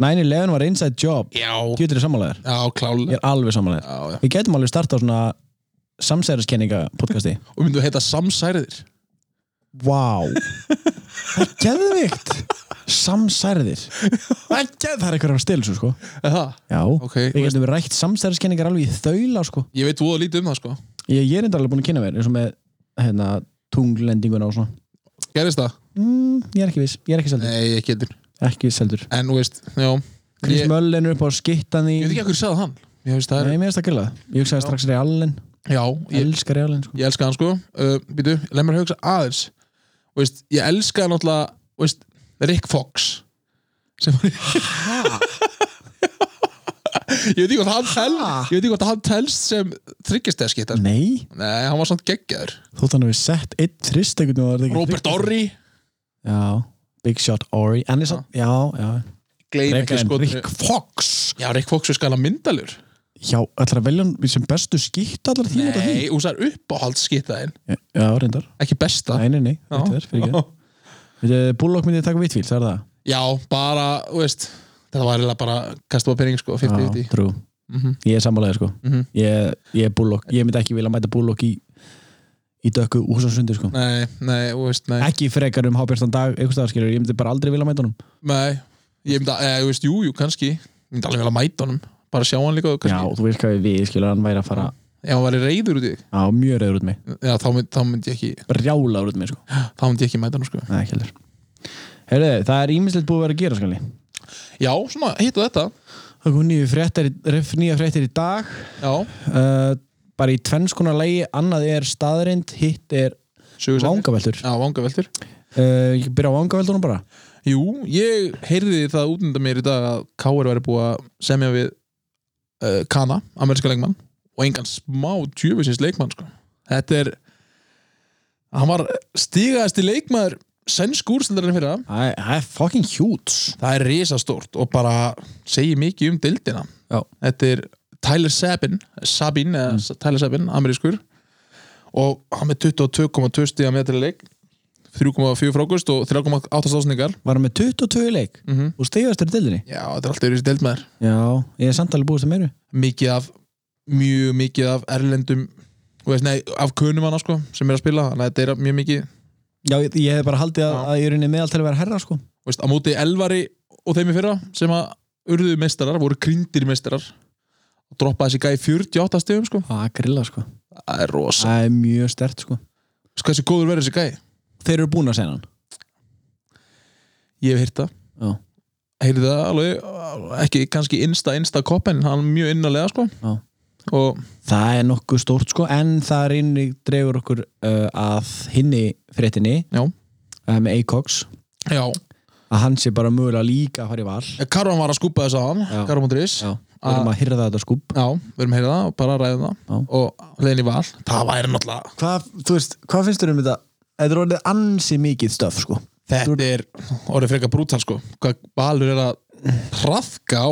[SPEAKER 2] 9-11 var inside job
[SPEAKER 1] já,
[SPEAKER 2] Gjötur er sammálaður,
[SPEAKER 1] já,
[SPEAKER 2] ég
[SPEAKER 1] klálega
[SPEAKER 2] er alveg sammálaður
[SPEAKER 1] já, já.
[SPEAKER 2] Við getum alveg starta á svona samsæriskenninga podcasti
[SPEAKER 1] og myndu að heita samsæriðir
[SPEAKER 2] Vá Það er geðvikt Samsærðir Það er geð, það er eitthvað að stila svo sko
[SPEAKER 1] Eða,
[SPEAKER 2] Já,
[SPEAKER 1] ok,
[SPEAKER 2] við getum rætt samsæðiskenningar alveg í þaula sko
[SPEAKER 1] ég veit voða lítið um það sko
[SPEAKER 2] Ég, ég er enda alveg búin að kynna mér eins og með hérna, tunglendinguna og svona
[SPEAKER 1] gerist það?
[SPEAKER 2] mm, Ég er ekki viss, ég er ekki seldur
[SPEAKER 1] nei, ekki getur
[SPEAKER 2] Ekki seldur
[SPEAKER 1] en, þú veist, já
[SPEAKER 2] Chris
[SPEAKER 1] ég,
[SPEAKER 2] Mullen er upp á skittan í
[SPEAKER 1] ég veit ekki að hverju sagði hann ég veist, það er
[SPEAKER 2] Nei, mér er það grilla Ég hugsaði strax Ray Allen,
[SPEAKER 1] Já, ég,
[SPEAKER 2] elskar Ray Allen sko.
[SPEAKER 1] ég elska hann sko uh, Býtu, leið mér að hugsa aðeins Þú veist, Ég elska náttúrulega þú veist, Rick Fox sem var Ég veit ekki hvort hann tel
[SPEAKER 2] Ha? Mm.
[SPEAKER 1] Ég veit ekki hvort hann telst sem þryggistæðskittar
[SPEAKER 2] Nei,
[SPEAKER 1] Nei, hann var samt geggjaður
[SPEAKER 2] þú þannig við sett eitt trist ekkert nú var þetta ekki
[SPEAKER 1] Robert
[SPEAKER 2] trist.
[SPEAKER 1] Orri
[SPEAKER 2] Já, Big Shot Ori En ég satt, já, já
[SPEAKER 1] Gleim ekki
[SPEAKER 2] Reykjavík,
[SPEAKER 1] sko
[SPEAKER 2] Rick Fox
[SPEAKER 1] Já, Rick Fox er skala myndalur
[SPEAKER 2] Já, ætlar að velja hann sem bestu skýtt allar tíma út af því?
[SPEAKER 1] Nei, hún sagði uppáhaldsskittaðin
[SPEAKER 2] Já, reyndar
[SPEAKER 1] Ekki besta
[SPEAKER 2] Nei, nei, nei,
[SPEAKER 1] Já.
[SPEAKER 2] þetta er fyrir ekki Bullock myndi taka vitvíl, það er það
[SPEAKER 1] Já, bara, þú veist Þetta var eiginlega bara kastaða pening sko, 50-50
[SPEAKER 2] trú
[SPEAKER 1] Mhm.
[SPEAKER 2] Ég er sammálaðið sko
[SPEAKER 1] Mhm.
[SPEAKER 2] ég, ég er Bullock, ég myndi ekki vilja mæta Bullock í í dökku ús og sundi sko.
[SPEAKER 1] Nei, nei, þú veist, nei
[SPEAKER 2] ekki frekar um hábjörnstan dag einhvers staðar skilur, ég myndi bara aldrei vilja mæta honum
[SPEAKER 1] Nei, ég myndi að, eða, þú veist, jú, jú, kannski Ég myndi alveg vel að mæta honum Bara sjá hann líka, þú
[SPEAKER 2] já,
[SPEAKER 1] kannski
[SPEAKER 2] þú veist hvað við skilur, hann væri að fara
[SPEAKER 1] Ef hann væri reyður út í þig
[SPEAKER 2] á mjög reyður út mig,
[SPEAKER 1] Já, þá myndi, þá myndi ég ekki
[SPEAKER 2] brjála út mig sko.
[SPEAKER 1] Þá myndi ég ekki mæta hann, sko
[SPEAKER 2] Nei, ekki heldur Herðu, það er ímislegt búið að vera að gera skali
[SPEAKER 1] Já, svona, hitt og þetta
[SPEAKER 2] Það kom nýju fréttir, ref- nýjar fréttir í dag
[SPEAKER 1] Já,
[SPEAKER 2] uh, Bara í tvennskonar lægi Annað er staðrind, hitt er
[SPEAKER 1] sögur
[SPEAKER 2] vangaveltur
[SPEAKER 1] Já, vangaveltur
[SPEAKER 2] uh, Ég byrja á vangaveltunum bara
[SPEAKER 1] Jú, ég heyrði það útnenda mér í dag að K.R. væri búið að semja við uh, Kana, ameríska leikmann og engan smá tjöfisins leikmann sko. Þetta er hann var stígaðasti leikmaður sennsk úrstildarinn fyrir það
[SPEAKER 2] Það er- það er fucking huge
[SPEAKER 1] það er risastórt og bara segir mikið um dildina
[SPEAKER 2] Já.
[SPEAKER 1] þetta er Tyler Sabin Sabin, eða Tyler Sabin, amerískur og hann með 22,2 stíða metrileik 3,4 frákust og 3,8 stásningar
[SPEAKER 2] Var hann með 22 í leik
[SPEAKER 1] mm -hmm.
[SPEAKER 2] og stegast er í deildinni
[SPEAKER 1] Já, þetta er alltaf yfir þessi deild með þér
[SPEAKER 2] Já, ég er samtalið búist að meiru
[SPEAKER 1] Mikið af, mjög mikið af erlendum þú veist, Nei, af kunum hana sko sem er að spila, þannig að þetta er mjög mikið þú
[SPEAKER 2] Já, ég, ég hef bara haldið að,
[SPEAKER 1] Já.
[SPEAKER 2] að ég er inn í meðaltal að vera herra sko
[SPEAKER 1] veist, á móti Elvari og þeim í fyrra sem að urðu meistarar, voru kryndir meistarar og droppaði þessi gæi 48 stegum sko
[SPEAKER 2] Það er grilla sko
[SPEAKER 1] Það er rosa
[SPEAKER 2] Það er mjög stert sko
[SPEAKER 1] Sko þessi góður verður þessi gæi
[SPEAKER 2] Þeir eru búin að segja hann
[SPEAKER 1] Ég hef heyrt það
[SPEAKER 2] Já.
[SPEAKER 1] Heyrði það alveg ekki kannski insta insta kopp en hann er mjög innarlega sko
[SPEAKER 2] Já.
[SPEAKER 1] og
[SPEAKER 2] Það er nokkuð stórt sko en það er inni dregur okkur uh, að hinni fréttinni
[SPEAKER 1] já,
[SPEAKER 2] uh, með Acox
[SPEAKER 1] já
[SPEAKER 2] að hann sé bara mögulega líka að fara í val Við
[SPEAKER 1] Karvan var að skúpa þess að
[SPEAKER 2] Já.
[SPEAKER 1] hann Karvan.is
[SPEAKER 2] erum að hyrða þetta skúb
[SPEAKER 1] Já, við erum að heyra það og bara ræðum það
[SPEAKER 2] Já.
[SPEAKER 1] og leiðin í val Það væri náttúrulega
[SPEAKER 2] Hvað, þú veist, hvað finnst þér um þetta? Þetta er orðið ansi mikið stöf sko
[SPEAKER 1] Þetta er orðið frekar brútal sko Hvað Valur er að hrafka á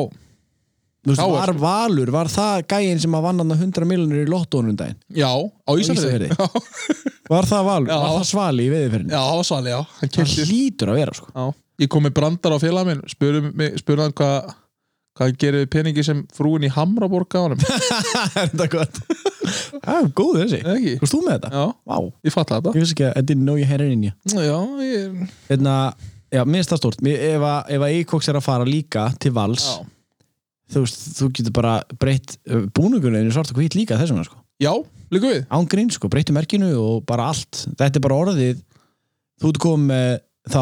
[SPEAKER 2] Þú veist,
[SPEAKER 1] Þá er-
[SPEAKER 2] var Valur, var það gæinn sem að vann hann 100 miljonir í lottónum daginn
[SPEAKER 1] Já, á Ísafjörði
[SPEAKER 2] Ísafirði. Var það Valur,
[SPEAKER 1] Já.
[SPEAKER 2] var það Svali í veðiferinni?
[SPEAKER 1] Já, á Svali, já Hann
[SPEAKER 2] Það
[SPEAKER 1] kefti
[SPEAKER 2] hlýtur að vera sko
[SPEAKER 1] Já, ég kom með brandar á félag minn Spurði mig- spurði hann hvað hvað hann gerir við peningi sem frúin í Hamra borga á honum
[SPEAKER 2] Það er þetta gott Það er góð þessi
[SPEAKER 1] Eða ekki?
[SPEAKER 2] Hvað stú með þetta?
[SPEAKER 1] Já,
[SPEAKER 2] Vá,
[SPEAKER 1] ég fatta þetta
[SPEAKER 2] ég veist ekki að I didn't know you had it in you
[SPEAKER 1] Já, ég
[SPEAKER 2] hérna, já, mér finnst það stórt Mér- ef að, ef að Eikoks er að fara líka til vals
[SPEAKER 1] Já,
[SPEAKER 2] þú veist, þú getur bara breytt uh, búningunni einu svart og hvít líka þessum vegna, sko.
[SPEAKER 1] já líka við
[SPEAKER 2] án grín, sko, breyttu merkinu og bara allt, þetta er bara orðið þú ert komið með þá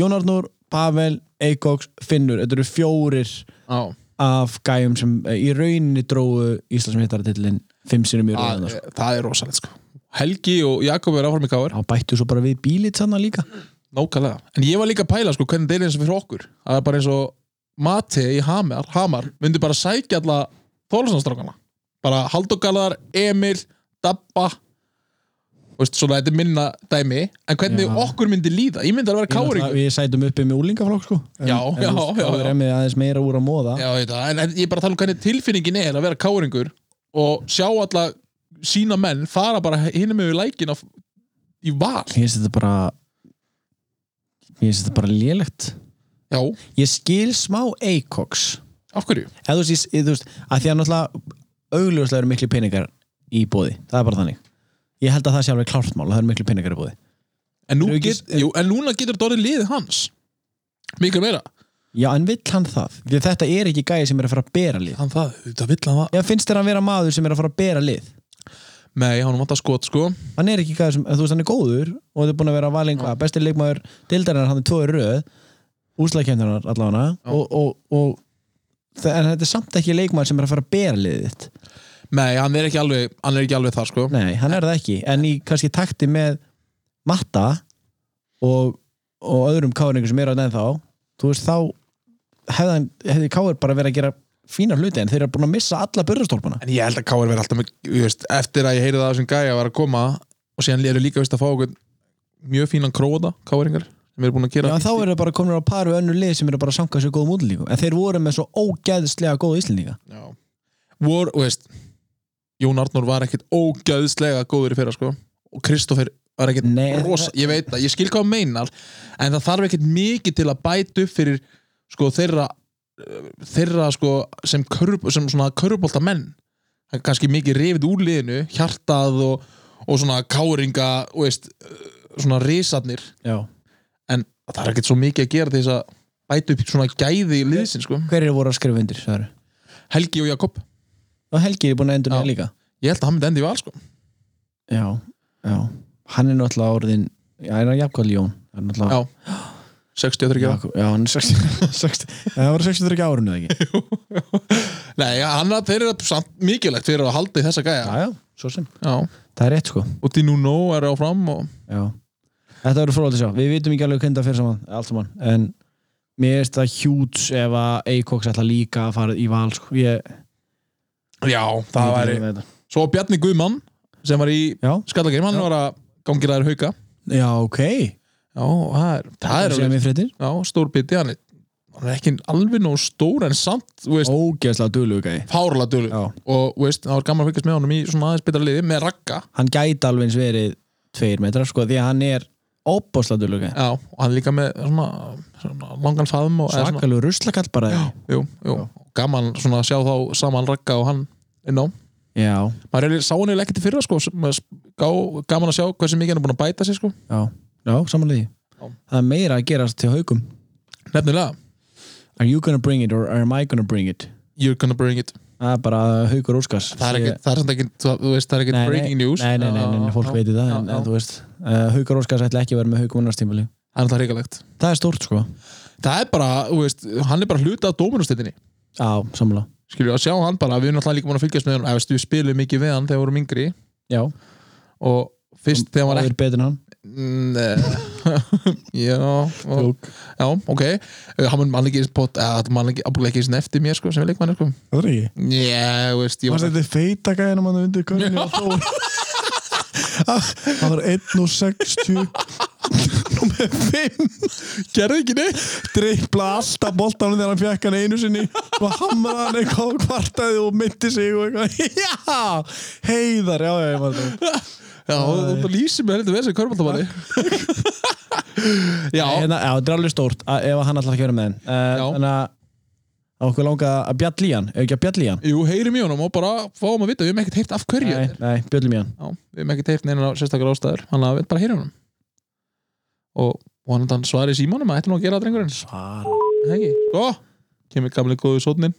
[SPEAKER 2] Jón Arnur, Pavel, Eikoks Finnur, þetta eru fjórir
[SPEAKER 1] Já,
[SPEAKER 2] af gæjum sem eh, í rauninni dróðu Íslandsmyndaratillin fimm sinum í
[SPEAKER 1] það,
[SPEAKER 2] rauninni, sko
[SPEAKER 1] það er rosalegt sko Helgi og Jakob er áfram í káir
[SPEAKER 2] þá bættu svo bara við bílit sannan líka
[SPEAKER 1] Nákvæmlega, en ég var líka að pæla sko hvernig deilin sem fyrir okkur að það er bara eins og Mati í Hamar, Hamar myndi bara sækja alla þólasannstrákana bara Halldór Garðar, Emil Dabba Þú veist, svona þetta er minna dæmi en hvernig
[SPEAKER 2] Já.
[SPEAKER 1] okkur myndi líða, ég myndi að vera
[SPEAKER 2] Náttúrulega,
[SPEAKER 1] káringur
[SPEAKER 2] við sætum uppi með úlingaflokk sko
[SPEAKER 1] Já,
[SPEAKER 2] en,
[SPEAKER 1] já,
[SPEAKER 2] en, þú
[SPEAKER 1] já,
[SPEAKER 2] veist, þá
[SPEAKER 1] já.
[SPEAKER 2] er emið aðeins meira úr að móða
[SPEAKER 1] Já, ég veit það, en en ég er bara að tala um hvernig tilfinningin er að vera káringur og sjá alla sína menn fara bara hinum yfir lækin á, í val
[SPEAKER 2] Mér finnst þetta bara Mér finnst þetta bara lélegt
[SPEAKER 1] Já,
[SPEAKER 2] Ég skil smá Acox
[SPEAKER 1] af hverju?
[SPEAKER 2] Eða þú veist, ég, þú veist að því að náttúrulega augljóslega eru miklu peningar í bóði Það er bara þannig Ég held að það sé alveg klárt mál, að það eru miklu peningar í bóði
[SPEAKER 1] En, nú
[SPEAKER 2] Eru ekki-
[SPEAKER 1] get, jú, en núna getur þetta orðið liðið hans miklu meira
[SPEAKER 2] Já, en vill hann það? Því að þetta er ekki gæði sem er að fara að bera lið
[SPEAKER 1] hann það, það vill hann það
[SPEAKER 2] Já, finnst þér hann vera maður sem er að fara að bera lið
[SPEAKER 1] Nei, hann vantar skot sko
[SPEAKER 2] hann er ekki gæður sem, þú veist hann er góður og þetta er búin að vera valin hvað, besti leikmaður deildarinnar hann er tvo í röð úslagkjöndunar allavega og, og, og, þa- en þetta er samt ekki leikmaður sem er að fara að bera liðið þitt
[SPEAKER 1] Nei, hann er ekki alveg, hann er ekki alveg þar sko
[SPEAKER 2] nei, hann er það ekki, en í kannski takti með matta og, og öðrum káringur sem eru að neð þá, þú veist þá hefði, hann- hefði káir bara verið að gera fína hluti en þeir eru búin að missa alla börðastólpana
[SPEAKER 1] En ég held að Káir verði alltaf með, þú veist, Eftir að ég heyri það að þessum gæja var að koma Og síðan eru líka veist að fá okkur Mjög fínan króta, Káiringar Sem eru búin að
[SPEAKER 2] Já,
[SPEAKER 1] gera
[SPEAKER 2] en þá eru bara komin á paru önnu lið sem eru bara að sanga sér góðum útlíkum en þeir voru með svo ógeðslega góða íslendinga
[SPEAKER 1] Já. Vor, þú veist Jón Arnór var ekkit ógæðslega góður í fyrra sko Og Kristoffer var ekkit
[SPEAKER 2] Nei, en
[SPEAKER 1] rosa Ég veit það, ég skil hvað hann meinar En það þarf ekkit mikið til að bæta upp fyrir Sko þeirra Þeirra sko sem, körp, sem svona körpolta menn kannski mikið rifið úr liðinu, hjartað og, og svona káringa þú veist, svona risarnir
[SPEAKER 2] já.
[SPEAKER 1] en það er ekkert svo mikið að gera til þess að bæta upp svona gæði í liðsin sko.
[SPEAKER 2] Hverjir voru að skrifa undir, sagður?
[SPEAKER 1] Helgi og Jakob,
[SPEAKER 2] Og Helgi er búin að endur
[SPEAKER 1] Já.
[SPEAKER 2] með líka
[SPEAKER 1] ég held að hann myndi endi í val sko.
[SPEAKER 2] Já, já Hann er náttúrulega orðin, já, er hann Jakob Ljón Hann er náttúrulega
[SPEAKER 1] Já, 63 ára
[SPEAKER 2] Jakob, já, hann er 60, 60 Það var 63 árun eða ekki
[SPEAKER 1] Nei, hann að þeir eru samt mikilvægt fyrir að halda í þessa gæja
[SPEAKER 2] já, svo sem
[SPEAKER 1] Já,
[SPEAKER 2] Það er rétt sko
[SPEAKER 1] og Dinuno er áfram og
[SPEAKER 2] Já. Þetta verður frólægt að sjá. Við vitum ekki alveg hvernig það fyrir saman, allt saman, en mér finnst það hjúts ef að Eikoks ætla líka að fara í val, sko. Ég,
[SPEAKER 1] Já, það
[SPEAKER 2] ég
[SPEAKER 1] væri
[SPEAKER 2] með þetta.
[SPEAKER 1] Svo Bjarni Guðmann sem var í
[SPEAKER 2] Já,
[SPEAKER 1] Skallageim, hann
[SPEAKER 2] Já.
[SPEAKER 1] var að gangir aðeir hauka
[SPEAKER 2] já, ok.
[SPEAKER 1] Já, það er, það er
[SPEAKER 2] sem
[SPEAKER 1] alveg,
[SPEAKER 2] ég fréttir.
[SPEAKER 1] já, stór biti hann er, hann er ekki alveg nóg stór en samt, þú veist,
[SPEAKER 2] Ógeðslega duglegur gæði.
[SPEAKER 1] fárla dölu
[SPEAKER 2] Já.
[SPEAKER 1] og þú veist, það var gaman að fylgjast með honum í svona aðeins betra liði með ragga
[SPEAKER 2] Hann gæti alveg eins verið tveir metrar, sko, því að hann er óbáslega duglegur gæði.
[SPEAKER 1] Já, og hann er líka með svona, svona langan faðum og eða svona-
[SPEAKER 2] Svakalur ruslakall bara. Já.
[SPEAKER 1] Jú, jú, gaman svona að sjá þá saman ragga og hann inn á
[SPEAKER 2] Já,
[SPEAKER 1] maður er sá hann eiginlega ekki til fyrra sko, sem er gá, gaman að sjá hversu mikið hann er búin að bæta sig sko.
[SPEAKER 2] já, já, samanlega því.
[SPEAKER 1] Já.
[SPEAKER 2] Það er meira að gerast til haukum.
[SPEAKER 1] nefnilega,
[SPEAKER 2] Are you gonna bring it or am I gonna bring it?
[SPEAKER 1] you're gonna bring it
[SPEAKER 2] Það er bara haukur óskars.
[SPEAKER 1] það er ekkert, það er samt ekkert, þú- þú veist, það er ekkert
[SPEAKER 2] Nei,
[SPEAKER 1] breaking
[SPEAKER 2] nei,
[SPEAKER 1] news
[SPEAKER 2] Nei, nei, nei, nei, nei fólk veitir það en,
[SPEAKER 1] já,
[SPEAKER 2] en
[SPEAKER 1] já.
[SPEAKER 2] þú veist, uh, Haukur Óskars ætla ekki að vera með Haukum annarstímali
[SPEAKER 1] það er alltaf hrigalegt
[SPEAKER 2] Það er stórt sko
[SPEAKER 1] það er bara, þú veist, hann er bara hluta af dóminustettinni
[SPEAKER 2] Já, sammála
[SPEAKER 1] skilju, að sjá hann bara, við erum alltaf líka búin að fylgjast með hann, veist, við spilum mikið við hann þegar við vorum yngri
[SPEAKER 2] Já,
[SPEAKER 1] og fyrst þegar hann var
[SPEAKER 2] það
[SPEAKER 1] ekki
[SPEAKER 2] er betur en hann
[SPEAKER 1] Nei. já, og, já, ok Uh, hann man ekki pot, að, man ekki, að ekki svona eftir mér sko, sem er leikmann sko.
[SPEAKER 2] Það er ekki
[SPEAKER 1] Já, þú veist, ég var
[SPEAKER 3] þetta feita gæðina mann undir körnum Það Ah, var 1 og 60
[SPEAKER 1] gerði ekki neitt
[SPEAKER 3] Dreipla alltaf boltanum þegar hann fekk hann einu sinni og hamraði hann eitthvað og kvartaði og myndi sig og eitthvað Já, heiðar, já, já, ég var það
[SPEAKER 1] Já, þú þú lýsir mig heldur vesið körbáltamanni Já,
[SPEAKER 2] hérna, Já, það er alveg stórt að, ef hann ætlar ekki að vera með hann
[SPEAKER 1] Já.
[SPEAKER 2] uh, Þannig að að okkur langa að bjall í hann Ef ekki að bjall í hann
[SPEAKER 1] jú, heyrim í honum og bara fáum að vita, við hefum ekkert heyrt af hverju
[SPEAKER 2] Nei,
[SPEAKER 1] þetta er.
[SPEAKER 2] nei, bjöllum í hann
[SPEAKER 1] Já, við hefum ekkert heyrt neina sérstakar ástæður hann að við bara heyrim honum og vonandan svarið símanum að þetta er nú að gera það drengurinn
[SPEAKER 2] Svara
[SPEAKER 1] Það ekki, sko, kemur gamli góðu sótnin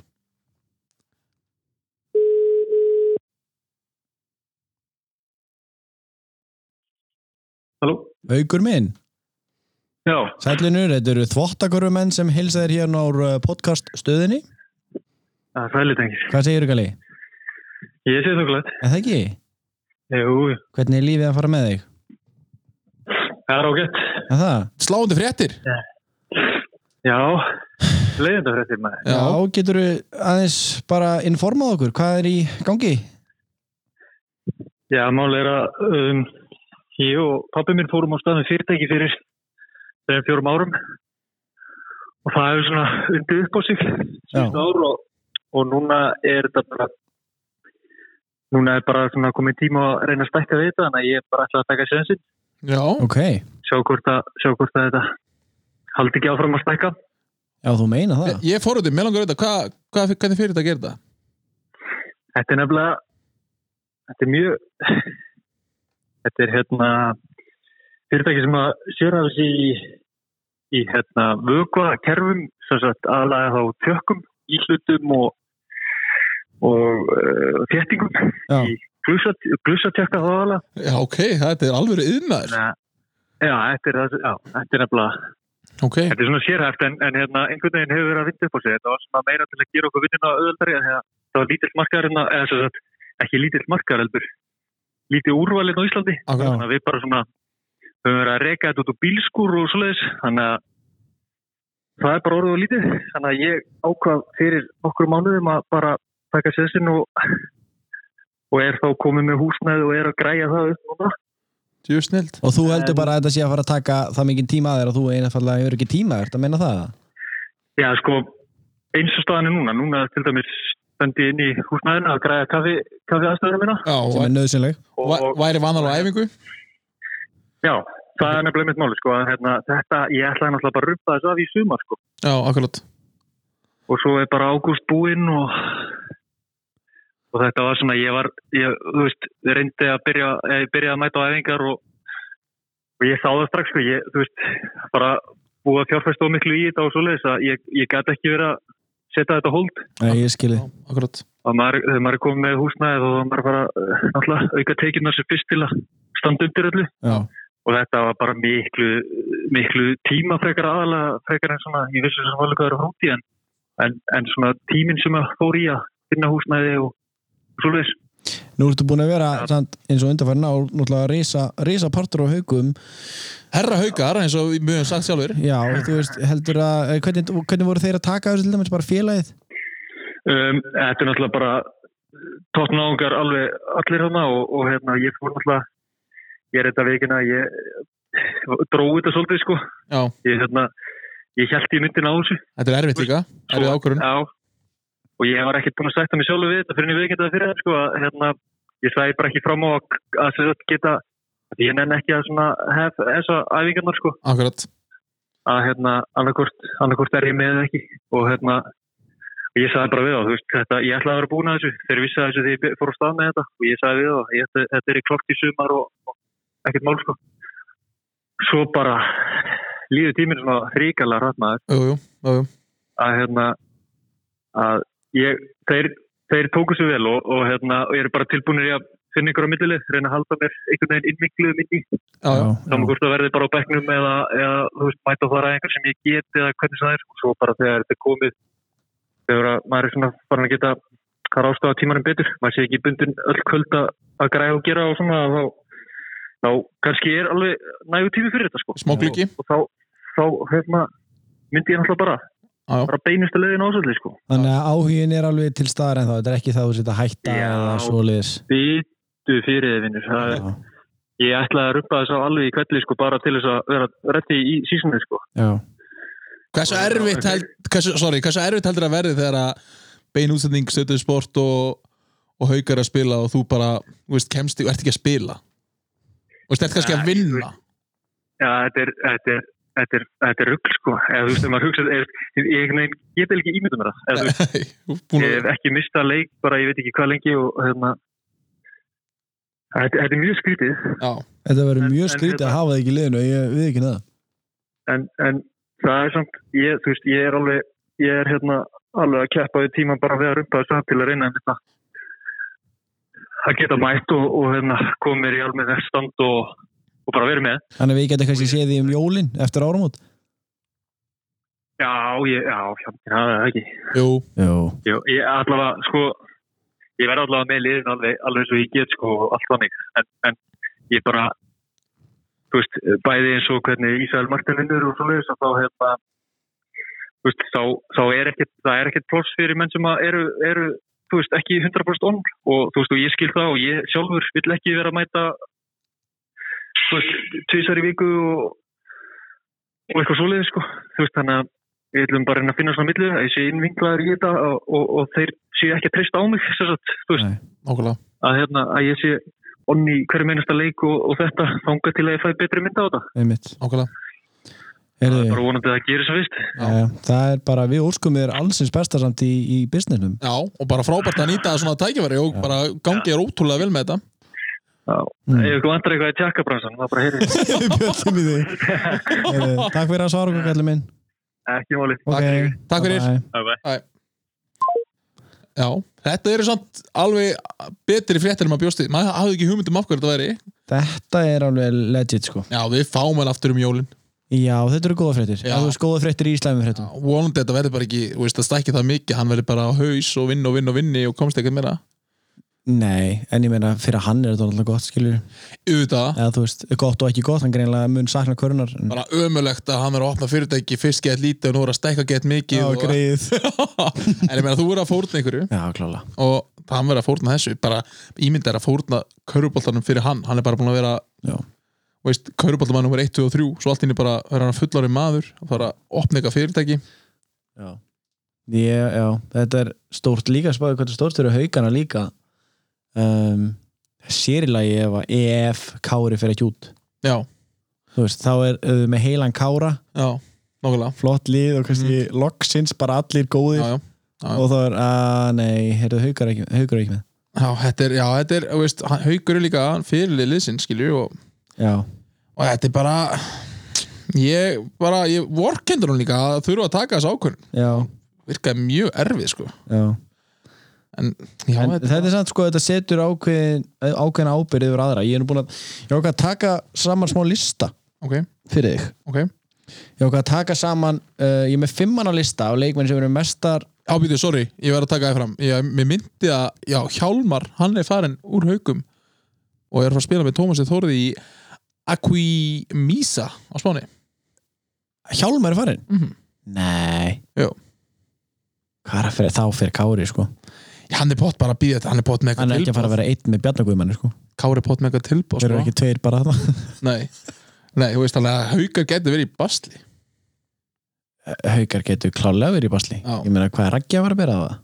[SPEAKER 4] Halló?
[SPEAKER 2] Haukur minn
[SPEAKER 4] Já,
[SPEAKER 2] Sællinur, þetta eru þvottakorfumenn sem hilsa þér hérna úr uh, podcast stöðinni
[SPEAKER 4] það er sælit engir.
[SPEAKER 2] Hvað segirðu Gali?
[SPEAKER 4] Ah, Ég sé það glætt.
[SPEAKER 2] Er það ekki?
[SPEAKER 4] Jú, jú.
[SPEAKER 2] Hvernig er lífið að fara með þig?
[SPEAKER 4] það er ágætt.
[SPEAKER 2] Er það?
[SPEAKER 1] Sláandi fréttir
[SPEAKER 4] Já, leiðinda fréttir maður.
[SPEAKER 2] Já, getur þú aðeins bara informað okkur, hvað er í gangi?
[SPEAKER 4] Já, mál er að um, ég og pappi minn fórum á staðum fyrirtæki fyrir þegar fjórum árum og það hefur svona undið upp á sig síðust ár og, og núna er þetta bara núna er bara svona komið tíma að reyna að stækka við þetta þannig að ég er bara ætla að taka sénsinn
[SPEAKER 1] Já,
[SPEAKER 2] Ok, já
[SPEAKER 4] sjá hvort að, sjá hvort að þetta haldi ekki áfram að stækka
[SPEAKER 2] þú meina það
[SPEAKER 1] Ég- ég fór út í, mér langar að vita, hvað, hvað, hvernig fyrir þetta að gera þetta?
[SPEAKER 4] Þetta er nefnilega þetta er mjög þetta er hérna fyrirtæki sem að sérhæfis í í hérna vökva kerfum, sem sagt aðlæða þá tjökkum, íhlutum og og uh, þéttingum
[SPEAKER 2] Já.
[SPEAKER 4] í glusatjökka þá aðlæða
[SPEAKER 1] Já, ok, þetta er alveg yðnaður
[SPEAKER 4] Já, þetta er, það- já, þetta er nefnilega
[SPEAKER 1] Ok,
[SPEAKER 4] Þetta er svona sérhæft en, en hérna, einhvern veginn hefur verið að vinda upp á sig. Þetta var svona meira til að gera okkur vinnuna auðvöldari en það var lítill markaðar, hérna, eða sem sagt, ekki lítill markaðar heldur, lítið úrvalinn á Íslandi.
[SPEAKER 1] akkurat
[SPEAKER 4] Þannig að við bara svona höfum verið að reka þetta út úr bílskur og svoleiðis. Þannig að það er bara orðið og lítið. Þannig að ég ákvað fyrir okkur mánuðum að bara taka sessin og, og er þá komið með húsnæði og er að græja það upp núna.
[SPEAKER 1] Jú, snild
[SPEAKER 2] Og þú heldur bara að þetta sé að fara að taka það mikið tíma að þér að þú einfallega hefur ekki tíma að þetta meina það
[SPEAKER 4] Já, sko, eins og staðan er núna. Núna til dæmis stend ég inn í húsnæðinu að græða kaffi, kaffi aðstöðuna mína.
[SPEAKER 1] Já,
[SPEAKER 2] sem er nöðsynleg
[SPEAKER 4] Og,
[SPEAKER 1] væ- væri vanar á æfingu
[SPEAKER 4] já, það er nefnilega mitt máli, sko. að Hérna, þetta, ég ætlaði náttúrulega bara að rumpa þessu af í sumar, sko.
[SPEAKER 1] Já, akkurat
[SPEAKER 4] Og svo er bara ágúst búinn og og þetta var svona, ég var ég, þú veist, reyndi að byrja ég byrjaði að mæta á æfingar og, og ég sá það strax, sko, ég, þú veist bara búið að fjárfæstu og miklu í þetta og svoleiðis að ég, ég gæti ekki verið að setja þetta á hold,
[SPEAKER 2] Nei, ég skilji
[SPEAKER 1] Já, akkurat
[SPEAKER 4] að maður, þegar maður er komið með húsnæði þá var maður bara, eh, náttúrulega auka tekjurnar sem fyrst til að standa undir öllu
[SPEAKER 2] Já,
[SPEAKER 4] og þetta var bara miklu, miklu tíma frekar aðalega frekar en svona, ég vissi sem var hvað er á framtíð en, en, en svona tíminn sem að fór í að finna húsnæði og svoleiðis.
[SPEAKER 2] nú ertu búin að vera samt, eins og undarfærin á náttúrulega risa, risa partur á haugum
[SPEAKER 1] Herra haukar, eins og við höfum sagt sjálfur
[SPEAKER 2] Já, þú veist, heldur að eh, hvernig, hvernig voru þeir að taka þessu til dæmis bara félagið?
[SPEAKER 4] Um, þetta er náttúrulega bara tóttnáðungar alveg allir hana og, og hérna ég fór náttúrulega ég er þetta veikina ég dróði þetta svolítið sko
[SPEAKER 1] Já,
[SPEAKER 4] ég, hérna, ég held ég myndin á þessu
[SPEAKER 1] þetta er erfitt líka Erfið ákvörun
[SPEAKER 4] Já, og ég var ekkert búin að sætta mig sjálfur við þetta fyrir en ég veikenda það fyrir það sko að hérna, ég sæði bara ekki fram á að, að sem sagt geta því ég nenn ekki að svona hef þessa æfingarnar sko
[SPEAKER 1] Akkurat
[SPEAKER 4] að hérna annarkort, annarkort er ég með eða ekki og hérna og ég sagði bara við þá, þú veist, þetta, ég ætlaði að vera búin að þessu þeir vissi að þessu þegar ég be- fór á stað með þetta og ég sagði við þá, ég, ætla- þetta er í klokkt í sumar og, og ekkert mál sko svo bara líður tíminn svona ríkala ratnaður
[SPEAKER 1] Jú, jú, jú, jú
[SPEAKER 4] að hérna að ég, þeir, þeir tóku sér vel og, og hérna, og ég er bara tilbúinir í að finna ykkur á millilið, reyna að halda mér einhvern veginn innmikluðum inn í,
[SPEAKER 1] Já, já,
[SPEAKER 4] saman hvort það verði bara á bekknum eða, eða þú veist, mæta á það ræðingar sem ég get eða hvernig það er, og svo bara þegar þetta er komið, þegar að maður er svona farin að geta, hvað er ástofa tímanum betur maður sé ekki bundin öll kvöld að- að græða og gera og svona þá, þá kannski er alveg nægu tími fyrir þetta sko
[SPEAKER 1] smóklíki
[SPEAKER 4] og þá, þá hérna, myndi ég náttúrulega bara,
[SPEAKER 1] Já, já,
[SPEAKER 4] bara beinustu leiðin ásöldi sko
[SPEAKER 2] Þannig að áhugin er alveg til staðar en þá, þetta er ekki það að þú setja hætta
[SPEAKER 4] Já.
[SPEAKER 2] eða svoleiðis
[SPEAKER 4] býtu fyrir þið vinnur Það er-
[SPEAKER 2] Já,
[SPEAKER 4] ég ætlaði að rumpa þess að alveg í kvelli sko bara til þess að vera rétti í sísunni sko
[SPEAKER 2] já,
[SPEAKER 1] Hversu erfitt held, hversu, sorry, hversu erfitt heldur að verði þegar að bein útsending stöðuð sport og, og haukar að spila og þú bara, þú veist, kemst í og ert ekki að spila og ert kannski að
[SPEAKER 4] Nei,
[SPEAKER 1] vinna
[SPEAKER 4] já þetta er þetta er Þetta er, þetta er rugl sko, eða þú veist, ef maður hugsa, er, ég einhvern veginn get ekki ímyndum mér það, eða þú veist,
[SPEAKER 1] Þú ert búin
[SPEAKER 4] ég
[SPEAKER 1] að-
[SPEAKER 4] hef ekki mistað leik bara ég veit ekki hvað lengi og hérna, þetta, þetta er mjög skrítið,
[SPEAKER 1] Já,
[SPEAKER 2] þetta verður
[SPEAKER 4] En-
[SPEAKER 2] mjög
[SPEAKER 4] en
[SPEAKER 2] skrítið að
[SPEAKER 4] hérna-
[SPEAKER 2] hafa það ekki í liðinu, ég við ekki neða
[SPEAKER 4] en, en það er samt, ég, þú veist, ég er alveg, ég er hérna alveg að keppa við tíman bara við að rumpa þess að til að reyna einmitt að að geta mætt og, og hérna, koma mér í alveg stand og, og bara verið með.
[SPEAKER 2] Þannig að við getum kannski séð því um jólin eftir áramót
[SPEAKER 4] Já, ég, já, já, já, það er ekki.
[SPEAKER 1] jú,
[SPEAKER 2] Jó,
[SPEAKER 4] Jú, ég allavega, sko, ég verð allavega með liðin alveg, alveg eins og ég get, sko, og allt þannig. En, en ég bara, þú veist, bæði eins og hvernig Ísrael Martin vinnur og svoleiðis að þá hefða, þú veist, þá, þá er ekkert, það er ekkert ploss fyrir menn sem að eru, eru, þú veist, ekki 100% onn og þú veist, og ég skil það og ég sjálfur vill ekki vera að mæta, þú veist, tvísar í viku og, og eitthvað svoleiðis, sko, þú veist, þannig að við ætlum bara að reyna að finna svona millu að ég sé innvinglaður í þetta og, og, og þeir séu ekki að treysta á mig sem sagt, þú veist,
[SPEAKER 1] nákvæmlega
[SPEAKER 4] að, hérna, að ég sé onni hverju meinasta leik og, og þetta þanga til að ég fæ betri mynda á þetta
[SPEAKER 2] einmitt
[SPEAKER 1] Nákvæmlega,
[SPEAKER 4] það er
[SPEAKER 2] Heyrðu,
[SPEAKER 4] bara vonandi að það gerir sem fyrst
[SPEAKER 2] já, Það er bara, við óskum þér allsins besta samt í, í businessnum
[SPEAKER 1] já, og bara frábært að nýta svona tækifæri og
[SPEAKER 2] Já.
[SPEAKER 1] bara gangi er ótrúlega vel með þetta
[SPEAKER 4] Já,
[SPEAKER 2] Mm.
[SPEAKER 4] ef ykkur vantar eitthvað í tjakkabransan þá bara heyrið
[SPEAKER 2] Bjöllum í því Heyrðu, Takk fyrir að svara okkur, kallið minn
[SPEAKER 4] ekki máli
[SPEAKER 2] okay.
[SPEAKER 1] Takk fyrir.
[SPEAKER 2] bye-bye.
[SPEAKER 4] Bye bye.
[SPEAKER 1] Já, þetta eru samt alveg betri fréttir en maður bjósti, maður hafði ekki hugmynd um af hverju þetta væri
[SPEAKER 2] Þetta er alveg legit sko
[SPEAKER 1] Já, við fáum hann aftur um jólin
[SPEAKER 2] Já, þetta eru góða fréttir
[SPEAKER 1] Já.
[SPEAKER 2] Það eru góða fréttir í slæmi fréttum
[SPEAKER 1] Vonandi þetta verður bara ekki, þú veist, það stækki það mikið hann verður bara á haus og vinn og vinn og vinni og komst ekkert meira
[SPEAKER 2] Nei, en ég meina fyrir hann er þetta alltaf gott skilur
[SPEAKER 1] Auðvitað,
[SPEAKER 2] eða þú veist, gott og ekki gott, hann greinlega mun sakna körunar en...
[SPEAKER 1] bara ömulegt að hann er að opna fyrirtæki fyrst gett lítið og nú er að stækka gett mikið og...
[SPEAKER 2] greið
[SPEAKER 1] En ég meina, þú verður að fórna einhverju
[SPEAKER 2] Já, klála
[SPEAKER 1] og hann verður að fórna þessu bara ímynd er að fórna köruboltanum fyrir hann hann er bara búin að vera
[SPEAKER 2] Já.
[SPEAKER 1] þú veist, köruboltamann nummer 1, 2 og 3 svo allt inni bara er hann fullari maður að fara að opna eitthvað fyrirtæki
[SPEAKER 2] Já. Ég, já, þetta er stórt líka spáði hvað þetta er stórt eru haugana líka um, sérilagi ef að EF kári fyrir ekki út
[SPEAKER 1] Já,
[SPEAKER 2] þú veist, þá er uh, með heilan kára
[SPEAKER 1] já, nokkulega
[SPEAKER 2] flott lið og kannski loksins bara allir góðir
[SPEAKER 1] Já, já, já.
[SPEAKER 2] og þá er, að nei, heyrðu haugar ekki, haugar ekki með
[SPEAKER 1] já, þetta er, já, þetta er þú veist, hann- haukur er líka fyrirlið liðsinn skilju og,
[SPEAKER 2] já,
[SPEAKER 1] og þetta er bara ég bara, ég vorkendur hún líka að þurfa að taka þessu ákvörn
[SPEAKER 2] já,
[SPEAKER 1] virkaði mjög erfið sko
[SPEAKER 2] já.
[SPEAKER 1] en, já,
[SPEAKER 2] en
[SPEAKER 1] þetta,
[SPEAKER 2] þetta er samt sko þetta setur ákveðin, ákveðin ábyrð yfir aðra ég er nú búin að, ég ákveð að taka saman smá lista
[SPEAKER 1] ok,
[SPEAKER 2] fyrir þig
[SPEAKER 1] ok
[SPEAKER 2] ég ákveð að taka saman, uh, ég er með fimmanna lista á leikmenn sem eru mestar
[SPEAKER 1] ábýtu, sorry, ég verð að taka það fram ég, mér myndi að, já, Hjálmar hann er farin úr haukum og er að fara að spila með Tómasi Þórði í Aquimisa á Spáni
[SPEAKER 2] Hjálmar er farinn?
[SPEAKER 1] Mhm.
[SPEAKER 2] Nei
[SPEAKER 1] Jú.
[SPEAKER 2] Hvað er að fyrir þá fyrir Kári sko
[SPEAKER 1] hann er pott bara að býða þetta, hann er pott með
[SPEAKER 2] Hann er ekki að fara að vera einn með Bjarnaguðmanni sko
[SPEAKER 1] Kári er pott með eitthvað tilbúð
[SPEAKER 2] Þeir eru
[SPEAKER 1] sko.
[SPEAKER 2] ekki tveir bara þarna
[SPEAKER 1] nei, nei, þú veist alveg að haukar getur verið í basli
[SPEAKER 2] Haukar getur klálega verið í basli
[SPEAKER 1] Já.
[SPEAKER 2] Ég meina hvað er Raggi að fara að bera það?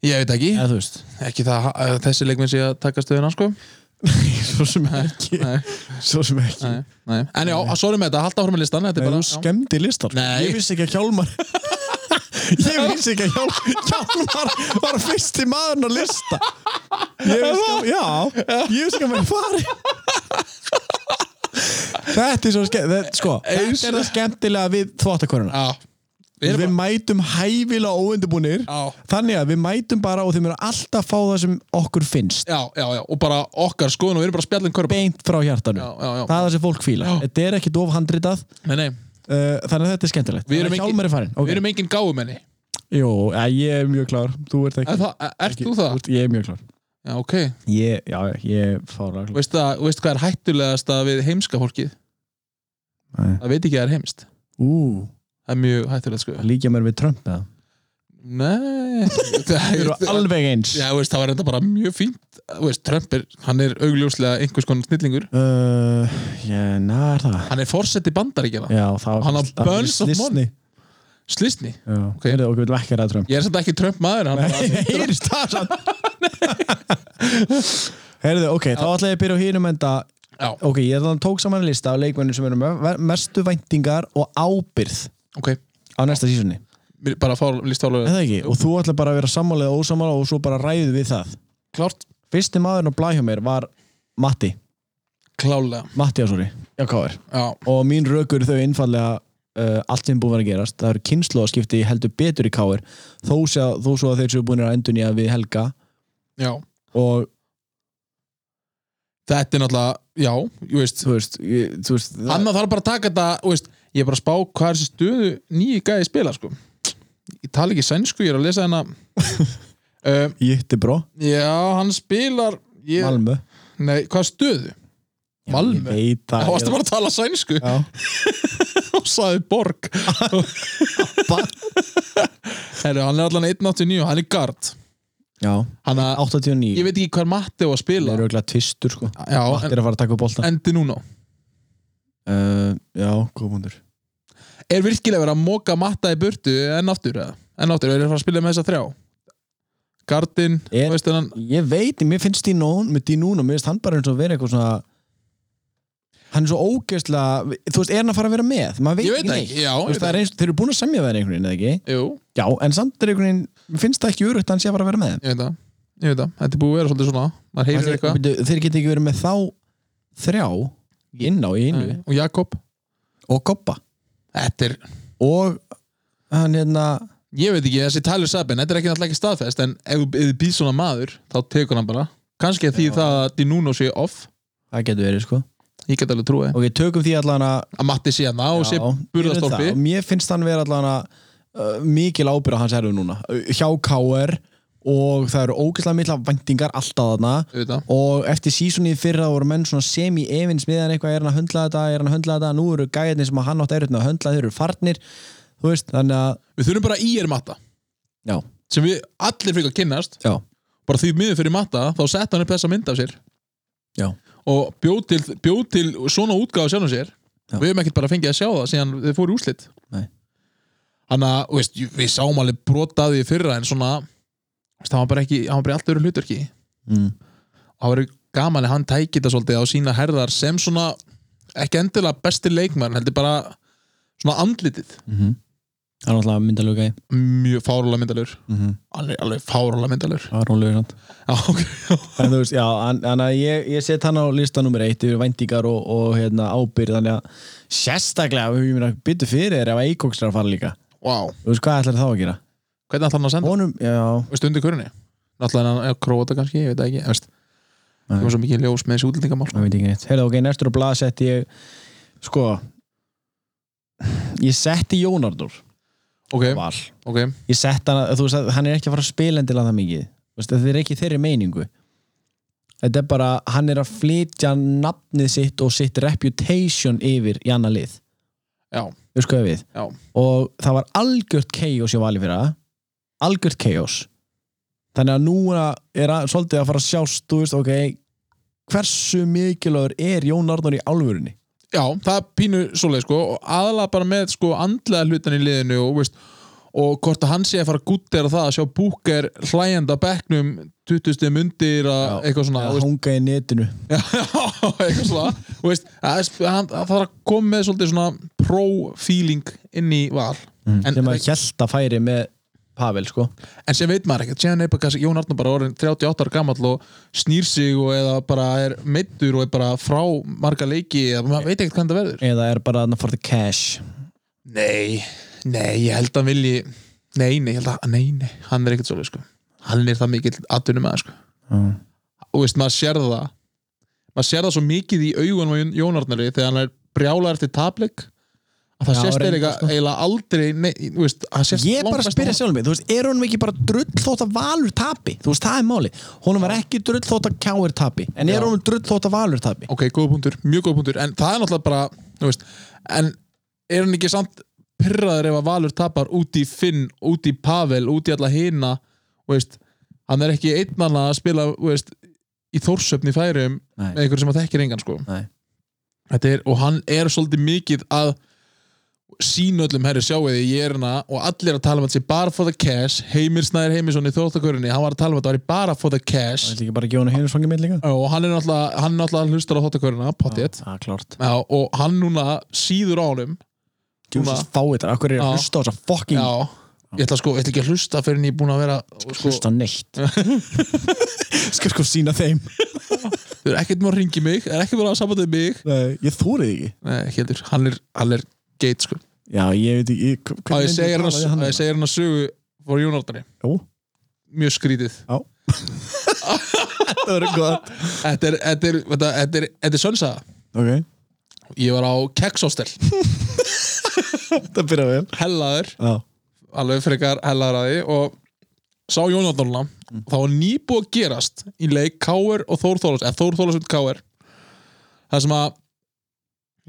[SPEAKER 1] ég veit ekki,
[SPEAKER 2] Eða þú veist
[SPEAKER 1] ekki það að þessi leikminn sé að taka stöðuna sko
[SPEAKER 2] Svo sem
[SPEAKER 1] nei,
[SPEAKER 2] Svo sem ekki
[SPEAKER 1] nei, nei. en já, sorry með þetta, halda áfram með listan þetta er
[SPEAKER 2] Nei, þú
[SPEAKER 1] bara, já.
[SPEAKER 2] skemmdi listar
[SPEAKER 1] Nei.
[SPEAKER 2] Ég vissi ekki að Hjálmar Ég vissi ekki að Hjál- Hjálmar var fyrsti maðurinn að lista Ég vissi ekki að Já, ég vissi ekki að maður fari Þetta er svo skemmt Sko,
[SPEAKER 1] Eins-
[SPEAKER 2] þetta er það skemmtilega við þvóttakonuna
[SPEAKER 1] já, við
[SPEAKER 2] Við
[SPEAKER 1] erum
[SPEAKER 2] mætum hæfilega óundubúnir
[SPEAKER 1] bara já,
[SPEAKER 2] Þannig að við mætum bara og þeim eru alltaf að fá það sem okkur finnst
[SPEAKER 1] já, já, já, og bara okkar skoðun og við erum bara spjallin körpa
[SPEAKER 2] Beint frá hjartanu
[SPEAKER 1] já, já, já,
[SPEAKER 2] Það er það sem fólk fílar
[SPEAKER 1] Já.
[SPEAKER 2] Þetta er ekki dofhandritað
[SPEAKER 1] nei, nei
[SPEAKER 2] Uh, þannig að þetta er skemmtilegt
[SPEAKER 1] Við erum
[SPEAKER 2] Þannig að
[SPEAKER 1] ekki-
[SPEAKER 2] Hjálmar er farin
[SPEAKER 1] Við erum engin gáfumenni
[SPEAKER 2] Jú, ja, ég er mjög klár Þú ert ekki
[SPEAKER 1] Er það- er- Ert þú það?
[SPEAKER 2] ert- Ég er mjög klár
[SPEAKER 1] Já, ok
[SPEAKER 2] ég, Já, já, ég er fára klár
[SPEAKER 1] Veistu það- veistu hvað er hættulegast að við heimska fólkið?
[SPEAKER 2] Nei.
[SPEAKER 1] Það veit ekki að það er heimst
[SPEAKER 2] Ú,
[SPEAKER 1] Það er mjög hættulegt sko
[SPEAKER 2] líkja mér við Trump eða?
[SPEAKER 1] Nei
[SPEAKER 2] Þeir eru
[SPEAKER 1] Það
[SPEAKER 2] alveg eins
[SPEAKER 1] Já, veist, það var enda bara mjög fínt Þú veist, Trump er, hann er augljóslega einhvers konar snillingur
[SPEAKER 2] uh, Já, na, er það
[SPEAKER 1] Hann er forseti bandaríkjana
[SPEAKER 2] Já, það
[SPEAKER 1] Hann á Burns of
[SPEAKER 2] Disney
[SPEAKER 1] Slisni
[SPEAKER 2] Ok, er það okkur vil ekki ræða Trump
[SPEAKER 1] Ég er samt ekki Trump maður hann bara-
[SPEAKER 2] Heyrist það sann Heyrðu, ok, þá ætla ég að byrja á hínum enda
[SPEAKER 1] Já,
[SPEAKER 2] Ok, ég þannig tók saman lista af leikmennir sem eru með mestu væntingar og ábyrð
[SPEAKER 1] ok
[SPEAKER 2] á næsta sísunni
[SPEAKER 1] Mér- Bara fá
[SPEAKER 2] Er
[SPEAKER 1] listálega
[SPEAKER 2] það ekki? Og þú ætla bara að vera sammála eða ósammála og svo bara ræðu við það
[SPEAKER 1] Klárt
[SPEAKER 2] Fyrsti maðurinn á blæ hjá mér var Matti
[SPEAKER 1] Klálega
[SPEAKER 2] Matti Ásóri Já, Káir
[SPEAKER 1] Já,
[SPEAKER 2] Og mín rökur þau einfallega uh, allt sem búin að vera að gerast Það eru kynnslóðaskipti heldur betur í Káir þó, sé að- þó svo að þeir séu búin að endunja við Helga
[SPEAKER 1] já
[SPEAKER 2] Og
[SPEAKER 1] Þetta er náttúrulega, já, ég veist
[SPEAKER 2] þú veist, ég, þú veist það-
[SPEAKER 1] Annað þarf bara að taka þetta þú veist, Ég er bara að spá hvað er þessi stöðu nýju gæði spila sko. Ég tala ekki sænsku, ég er að lesa hennar um,
[SPEAKER 2] Jitti bró,
[SPEAKER 1] Já, hann spilar ég,
[SPEAKER 2] Malmö
[SPEAKER 1] Nei, hvað stöðu?
[SPEAKER 2] Ég
[SPEAKER 1] Malmö?
[SPEAKER 2] veit
[SPEAKER 1] Þá
[SPEAKER 2] það
[SPEAKER 1] varstu bara að tala sænsku
[SPEAKER 2] Já.
[SPEAKER 1] og sagði borg Heru, Hann er allan 1.89 hann er gard
[SPEAKER 2] Já,
[SPEAKER 1] hann að,
[SPEAKER 2] 89
[SPEAKER 1] Ég veit ekki hvað Matti á að
[SPEAKER 2] Það
[SPEAKER 1] spila
[SPEAKER 2] eru auðvitað tvistur sko
[SPEAKER 1] Já,
[SPEAKER 2] Matti
[SPEAKER 1] en,
[SPEAKER 2] er að fara að taka upp bolta
[SPEAKER 1] endi núna
[SPEAKER 2] uh, Já, komundur
[SPEAKER 1] Er virkilega verið að móka Matta í burtu enn aftur? eða? Enn aftur, er það að fara að spila með þessa þrjá? Gardin,
[SPEAKER 2] Er-
[SPEAKER 1] þú veist hennan
[SPEAKER 2] Ég veit, mér finnst Dinón með Dinún og mér finnst hann bara eins og vera eitthvað svona hann er svo ógeðslega þú veist, er hann að fara að vera með? Maður
[SPEAKER 1] Ég
[SPEAKER 2] veit,
[SPEAKER 1] veit það ekki,
[SPEAKER 2] neitt.
[SPEAKER 1] já,
[SPEAKER 2] Þú
[SPEAKER 1] ég
[SPEAKER 2] veist, það er eins, þeir eru búin að semja verið einhvern veginn, eða ekki?
[SPEAKER 1] Jú,
[SPEAKER 2] Já, en samt er einhvern veginn, mér finnst það ekki örugt að hann sé að fara að vera með
[SPEAKER 1] ég veit það Ég veit það, þetta er búið að vera svolítið svona Maður heyrir
[SPEAKER 2] þeir,
[SPEAKER 1] eitthvað
[SPEAKER 2] byrju, þeir geta ekki verið með þá þrjá inn á í einu
[SPEAKER 1] Nei, Og Jakob
[SPEAKER 2] og koppa
[SPEAKER 1] Þetta er,
[SPEAKER 2] og hann hérna
[SPEAKER 1] ég veit ekki, þessi Tyler Sabin Þetta er ekki náttúrulega ekki staðfest En ef ef þið býð svona maður, þá tekur hann bara Kanski að því það að Dinuno sé off
[SPEAKER 2] það getur verið sko
[SPEAKER 1] Ég get alveg trúið
[SPEAKER 2] og við tökum því allan að
[SPEAKER 1] Að Matti sé hann og
[SPEAKER 2] Já,
[SPEAKER 1] sé
[SPEAKER 2] gerum
[SPEAKER 1] burðastólpi
[SPEAKER 2] það. Og Mér finnst hann vera allan að uh, mikil ábyrða hans erfið núna Uh, hjá KR og það eru ógeðslega mikla vendingar alltaf þarna
[SPEAKER 1] Auðvitað.
[SPEAKER 2] og eftir sísunni fyrra voru menn svona semi evins með hann eitthvað, er hann að höndla þetta, er hann að höndla þetta nú eru gæðinni sem hann átt erut með að höndla, þeir eru farnir þú veist, þannig að
[SPEAKER 1] Við þurfum bara í er Matta
[SPEAKER 2] já,
[SPEAKER 1] Sem við allir fyrir að kynnast
[SPEAKER 2] já,
[SPEAKER 1] bara því miður fyrir matta þá sett hann upp þessa mynd af sér
[SPEAKER 2] Já.
[SPEAKER 1] og bjóð til, bjóð til svona útgáð sjálfum sér
[SPEAKER 2] Já.
[SPEAKER 1] við hefum ekkert bara fengið að sjá það síðan þau fóru í úslit
[SPEAKER 2] Nei.
[SPEAKER 1] hann að, þú veist, við sáum alveg brotaði fyrra en svona þú veist, hann var bara ekki, hann var bara í allt öru hlutverki
[SPEAKER 2] mm.
[SPEAKER 1] og það verið gaman að hann tæki þetta svolítið á sína herðar sem svona ekki endilega besti leikmann heldur bara svona andlitið
[SPEAKER 2] Mm -hmm. Það er náttúrulega myndalega gæði
[SPEAKER 1] mjög fárulega myndalur
[SPEAKER 2] mm -hmm.
[SPEAKER 1] alveg, alveg fárulega myndalur
[SPEAKER 2] Það er rólegur samt
[SPEAKER 1] já, ok,
[SPEAKER 2] En þú veist, já, hann- þannig að ég, ég set hann á lista nummer eitt yfir væntingar og, og hérna, ábyrð Þannig að sérstaklega við mér að byttu fyrir þér ef Eikoks er að fara líka
[SPEAKER 1] wow
[SPEAKER 2] Þú veist, hvað ætlar þá að gera?
[SPEAKER 1] hvernig ætlar hann að senda?
[SPEAKER 2] Honum, já,
[SPEAKER 1] veist undir hverjunni? náttúrulega hann er að króta kannski, ég veit það ekki en veist, það var svo mikið ljós með þessi útlendingamál
[SPEAKER 2] það veit ekki neitt Heyrðu, ok, næstur á blað setti ég Sko Ég setti Jón Arnór
[SPEAKER 1] ok,
[SPEAKER 2] Val
[SPEAKER 1] ok,
[SPEAKER 2] Ég setti hann, að- þú veist, að hann er ekki að fara að spila endilega það mikið Þú veist, þetta er ekki þeirri meiningu Þetta er bara, hann er að flytja nafnið sitt og sitt reputation yfir í annað lið
[SPEAKER 1] já,
[SPEAKER 2] Þú veist hvað ég við
[SPEAKER 1] Já.
[SPEAKER 2] Og það var algjört chaos í vali fyrir það Algjört chaos Þannig að núna er að, svolítið að fara að sjást Þú veist, ok Hversu mikilvægur er Jón Arnór í álfurunni?
[SPEAKER 1] já, það er pínu svoleið sko, og aðalega bara með sko andlega hlutan í liðinu og veist og hvort að hann sé að fara að gúttera það að sjá Búker hlæjanda bekknum 20 stegum undir að eitthvað svona
[SPEAKER 2] Að
[SPEAKER 1] þú veist,
[SPEAKER 2] hanga í netinu
[SPEAKER 1] Já, eitthvað svona Þú veist, að, hann, að það er að koma með svolítið svona pro-feeling inn í val en,
[SPEAKER 2] sem að hjælta færi með Pavel sko
[SPEAKER 1] en sem veit maður ekkert Séðan er bara kannski Jón Arnur bara orðin 38 ára gamall og snýr sig og eða bara er meittur og er bara frá marga leiki eða maður veit ekkert hvað það verður
[SPEAKER 2] eða er bara að for the cash
[SPEAKER 1] Nei, nei, ég held að hann vilji Nei, nei, ég held að, nei, nei, hann er ekkert svolítið sko Hann er það mikill atvinnum að sko
[SPEAKER 2] mm.
[SPEAKER 1] og veist, maður sér það maður sér það svo mikið í augunum á Jón- Jón Arnari þegar hann er brjálar eftir tablik að það
[SPEAKER 2] Já,
[SPEAKER 1] sést
[SPEAKER 2] reyndar,
[SPEAKER 1] eiginlega
[SPEAKER 2] sko.
[SPEAKER 1] eiginlega aldrei nei, þú veist, það sést
[SPEAKER 2] ég er bara að
[SPEAKER 1] langmest
[SPEAKER 2] spyrja
[SPEAKER 1] á-
[SPEAKER 2] sjálf mig þú veist, er honum ekki bara drull þótt að valur tapi þú veist, það er máli honum var ekki drull þótt að kjáir tapi en
[SPEAKER 1] Já.
[SPEAKER 2] er honum drull þótt að valur tapi
[SPEAKER 1] ok, góð punktur, mjög góð punktur en það er náttúrulega bara, þú veist en er hann ekki samt pyrraður ef að Valur tapar út í Finn út í Pavel, út í alla hina þú veist, hann er ekki einnanna að spila, þú veist, í þórsöfni færum
[SPEAKER 2] Nei.
[SPEAKER 1] með einhverjum sem að þekkir engan sko
[SPEAKER 2] Nei.
[SPEAKER 1] Þetta er, og hann er svolítið mikið að sín öllum herri sjáuði ég er hana og allir að tala um að þetta sé bara for the cash Heimir Snæðir Heimisson í þóttakörinni hann var að tala um að þetta væri bara for the cash
[SPEAKER 2] ekki bara Jónu Heimisvangi með líka Ah,
[SPEAKER 1] og hann er náttúrulega, hann er náttúrulega hlustar á þóttakörina, potið
[SPEAKER 2] það er klart
[SPEAKER 1] Já, og hann núna síður á honum
[SPEAKER 2] Jesus, fá þetta, akkur er
[SPEAKER 1] Já.
[SPEAKER 2] að hlusta á þessa fucking
[SPEAKER 1] Já, ég ætla sko, ég ætla ekki að hlusta fyrir en ég er búin að vera sko,
[SPEAKER 2] hlusta á neitt skal sko sína þeim
[SPEAKER 1] Þú er ekkert með að ringi mig, er ekkert með að sambandið mig
[SPEAKER 2] Nei, Eh, ég þórið ekki
[SPEAKER 1] Nei, ekki heldur, hann er, hann er geit sko
[SPEAKER 2] já, ég veit ekki ég-
[SPEAKER 1] Á
[SPEAKER 2] hvernig
[SPEAKER 1] ég
[SPEAKER 2] myndi
[SPEAKER 1] segir hann
[SPEAKER 2] tala við
[SPEAKER 1] að- á
[SPEAKER 2] hann?
[SPEAKER 1] ég segir hann að sögu fór Jónardari,
[SPEAKER 2] Jú,
[SPEAKER 1] mjög skrítið
[SPEAKER 2] já. það verður gott
[SPEAKER 1] Þetta er, þetta er, þetta er, þetta er, þetta er sönsaga
[SPEAKER 2] ok,
[SPEAKER 1] Ég var á kekshostel,
[SPEAKER 2] það byrja vel
[SPEAKER 1] hellaður
[SPEAKER 2] já,
[SPEAKER 1] alveg frekar hellaður að því og sá Jónardarna mm. þá var nýbúið að gerast í leik Káur og Þór Þólas eða Þór Þólas und Káur það sem að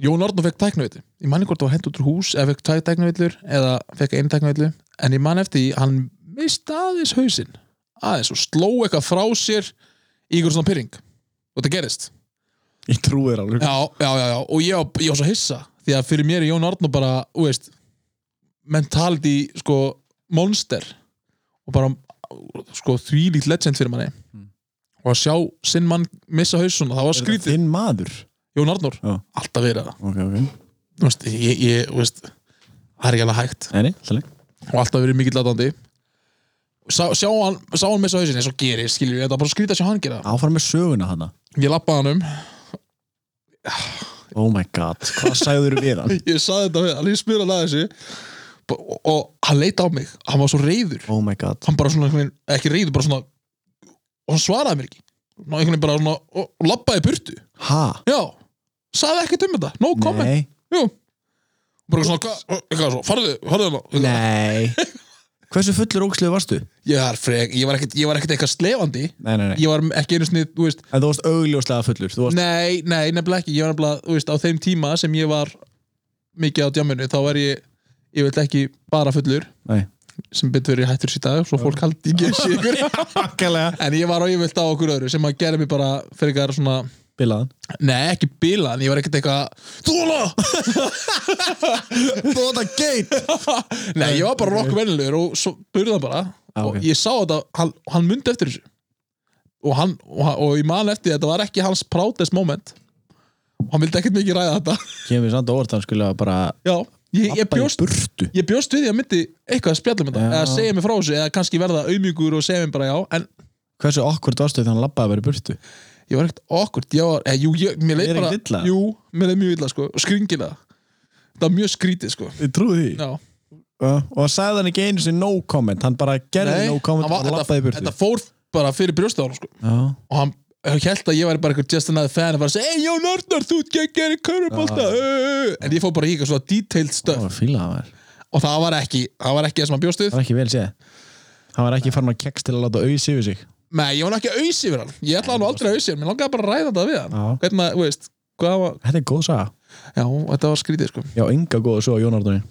[SPEAKER 1] Jónardarna fekk tæknavillu ég manni hvort það var hent út úr hús eða fekk tvær tæknavillur eða fekk einu tæknavillu en ég man eftir því hann mist aðeins hausinn aðeins og sló eitthvað frá sér í ykkur svona pyrring og þetta gerist
[SPEAKER 2] ég trúi þér alveg
[SPEAKER 1] já, já, já, já. og ég, var- ég var svo hissa því að fyrir mér er Jón Arnó bara þú veist, mentality sko, monster og bara sko, þvílíkt legend fyrir manni og að sjá sinn mann missa hausuna, það var skrítið
[SPEAKER 2] þinn maður
[SPEAKER 1] Jón Arnór,
[SPEAKER 2] Já.
[SPEAKER 1] alltaf verið það
[SPEAKER 2] ok, ok,
[SPEAKER 1] Þú veist, ég, ég, þú veist, það er ekki alveg hægt
[SPEAKER 2] enni, hlæg
[SPEAKER 1] og alltaf verið mikill latandi sá, sjá hann, sá hann missa hausinn eins og gerir, skiljum við, þetta var bara skrítið að sjá hann gera það.
[SPEAKER 2] áfram með söguna hana
[SPEAKER 1] ég lappaði hann um
[SPEAKER 2] oh my god, hvað sagður við hann
[SPEAKER 1] ég saði þetta við, hann, ég spyr hann að þessu B- og, og hann leit á mig hann var svo reyður,
[SPEAKER 2] oh my god,
[SPEAKER 1] hann bara svona einhvern veginn- ekki reyður, bara svona og hann svaraði mér ekki Ná, einhvern veginn bara svona, og, og labbaði í burtu
[SPEAKER 2] ha
[SPEAKER 1] já, saði ekkert um þetta no comment,
[SPEAKER 2] nei,
[SPEAKER 1] jú bara svona, hva- eitthvað svo, farðu, farðu hana
[SPEAKER 2] nei hversu fullur ógsluðu varstu?
[SPEAKER 1] ég var frek, ég var ekkert, ég var ekkert eitthvað slefandi
[SPEAKER 2] nei, nei,
[SPEAKER 1] ég var ekki einu snið, þú veist
[SPEAKER 2] en þú varst augljóslega fullur þú varst,
[SPEAKER 1] nei, nei, nefnilega ekki, ég var nefnilega þú veist, á þeim tíma sem ég var mikið á djáminu, þá var ég ég vil ekki bara fullur
[SPEAKER 2] nei,
[SPEAKER 1] sem betur verið hættur sér dag svo fólk haldi ekki að sé ykkur
[SPEAKER 2] pakkalega
[SPEAKER 1] en ég var ájöfilt á okkur öðru sem að gera mig bara fyrir eitthvað svona,
[SPEAKER 2] bilaðan
[SPEAKER 1] nei ekki bila en ég var ekkert eitthvað, þóla
[SPEAKER 2] þú varst að geit
[SPEAKER 1] nei ég var bara rokk vennilegur og svo burði hann bara
[SPEAKER 2] Ah, ok.
[SPEAKER 1] og ég sá þetta, hann, hann myndi eftir þessu og hann, og, hann- og ég man eftir því að þetta var ekki hans proudest moment og hann vildi ekkert mikið ræða þetta
[SPEAKER 2] kemur samt á orðan skilja bara
[SPEAKER 1] já, ég, ég,
[SPEAKER 2] Labba í
[SPEAKER 1] bjóst,
[SPEAKER 2] burtu
[SPEAKER 1] ég bjóst við því að myndi eitthvað að spjalla með það
[SPEAKER 2] Já.
[SPEAKER 1] eða segja mér frá þessu eða kannski verða auðmjúkur og segja mér bara já en
[SPEAKER 2] Hversu okkur dórstuð þannig að labbaði verið burtu
[SPEAKER 1] ég var ekkert okkurt ég var, eh, jú, ég, mér leið
[SPEAKER 2] Þér er
[SPEAKER 1] bara
[SPEAKER 2] ekkert illa?
[SPEAKER 1] jú, mér leið mjög illa sko og skringilega það var mjög skrítið sko
[SPEAKER 2] Ég trúi því
[SPEAKER 1] já
[SPEAKER 2] Og sagði hann ekki einu sinni no comment Hann bara gerði
[SPEAKER 1] Nei,
[SPEAKER 2] no comment
[SPEAKER 1] hann var-
[SPEAKER 2] og labbaði
[SPEAKER 1] þetta,
[SPEAKER 2] í burtu
[SPEAKER 1] þetta fór bara fyrir brjóstið á hann sko.
[SPEAKER 2] Já,
[SPEAKER 1] og hann held að ég væri bara eitthvað just another fan og bara að segja, hey Jón Arnar, þú ert geggjari körfubolta uh." en ég fór bara í eitthvað svona detailed
[SPEAKER 2] það
[SPEAKER 1] stuff
[SPEAKER 2] var fílað það var
[SPEAKER 1] og það var ekki, það var ekki það sem hann bjóst við
[SPEAKER 2] Það var ekki vel séð Hann var ekki farin að keks til að láta auðs yfir sig
[SPEAKER 1] Nei, ég var nú ekki að auðs yfir hann ég ætla hann aldrei að auðs yfir, hann, mér langaði bara að ræða þetta við hann
[SPEAKER 2] Já.
[SPEAKER 1] hvernig maður, þú veist, hvað var
[SPEAKER 2] Þetta er góð saga
[SPEAKER 1] já, þetta var skrítið sko
[SPEAKER 2] Já, enga góða svo á Jón Árnarni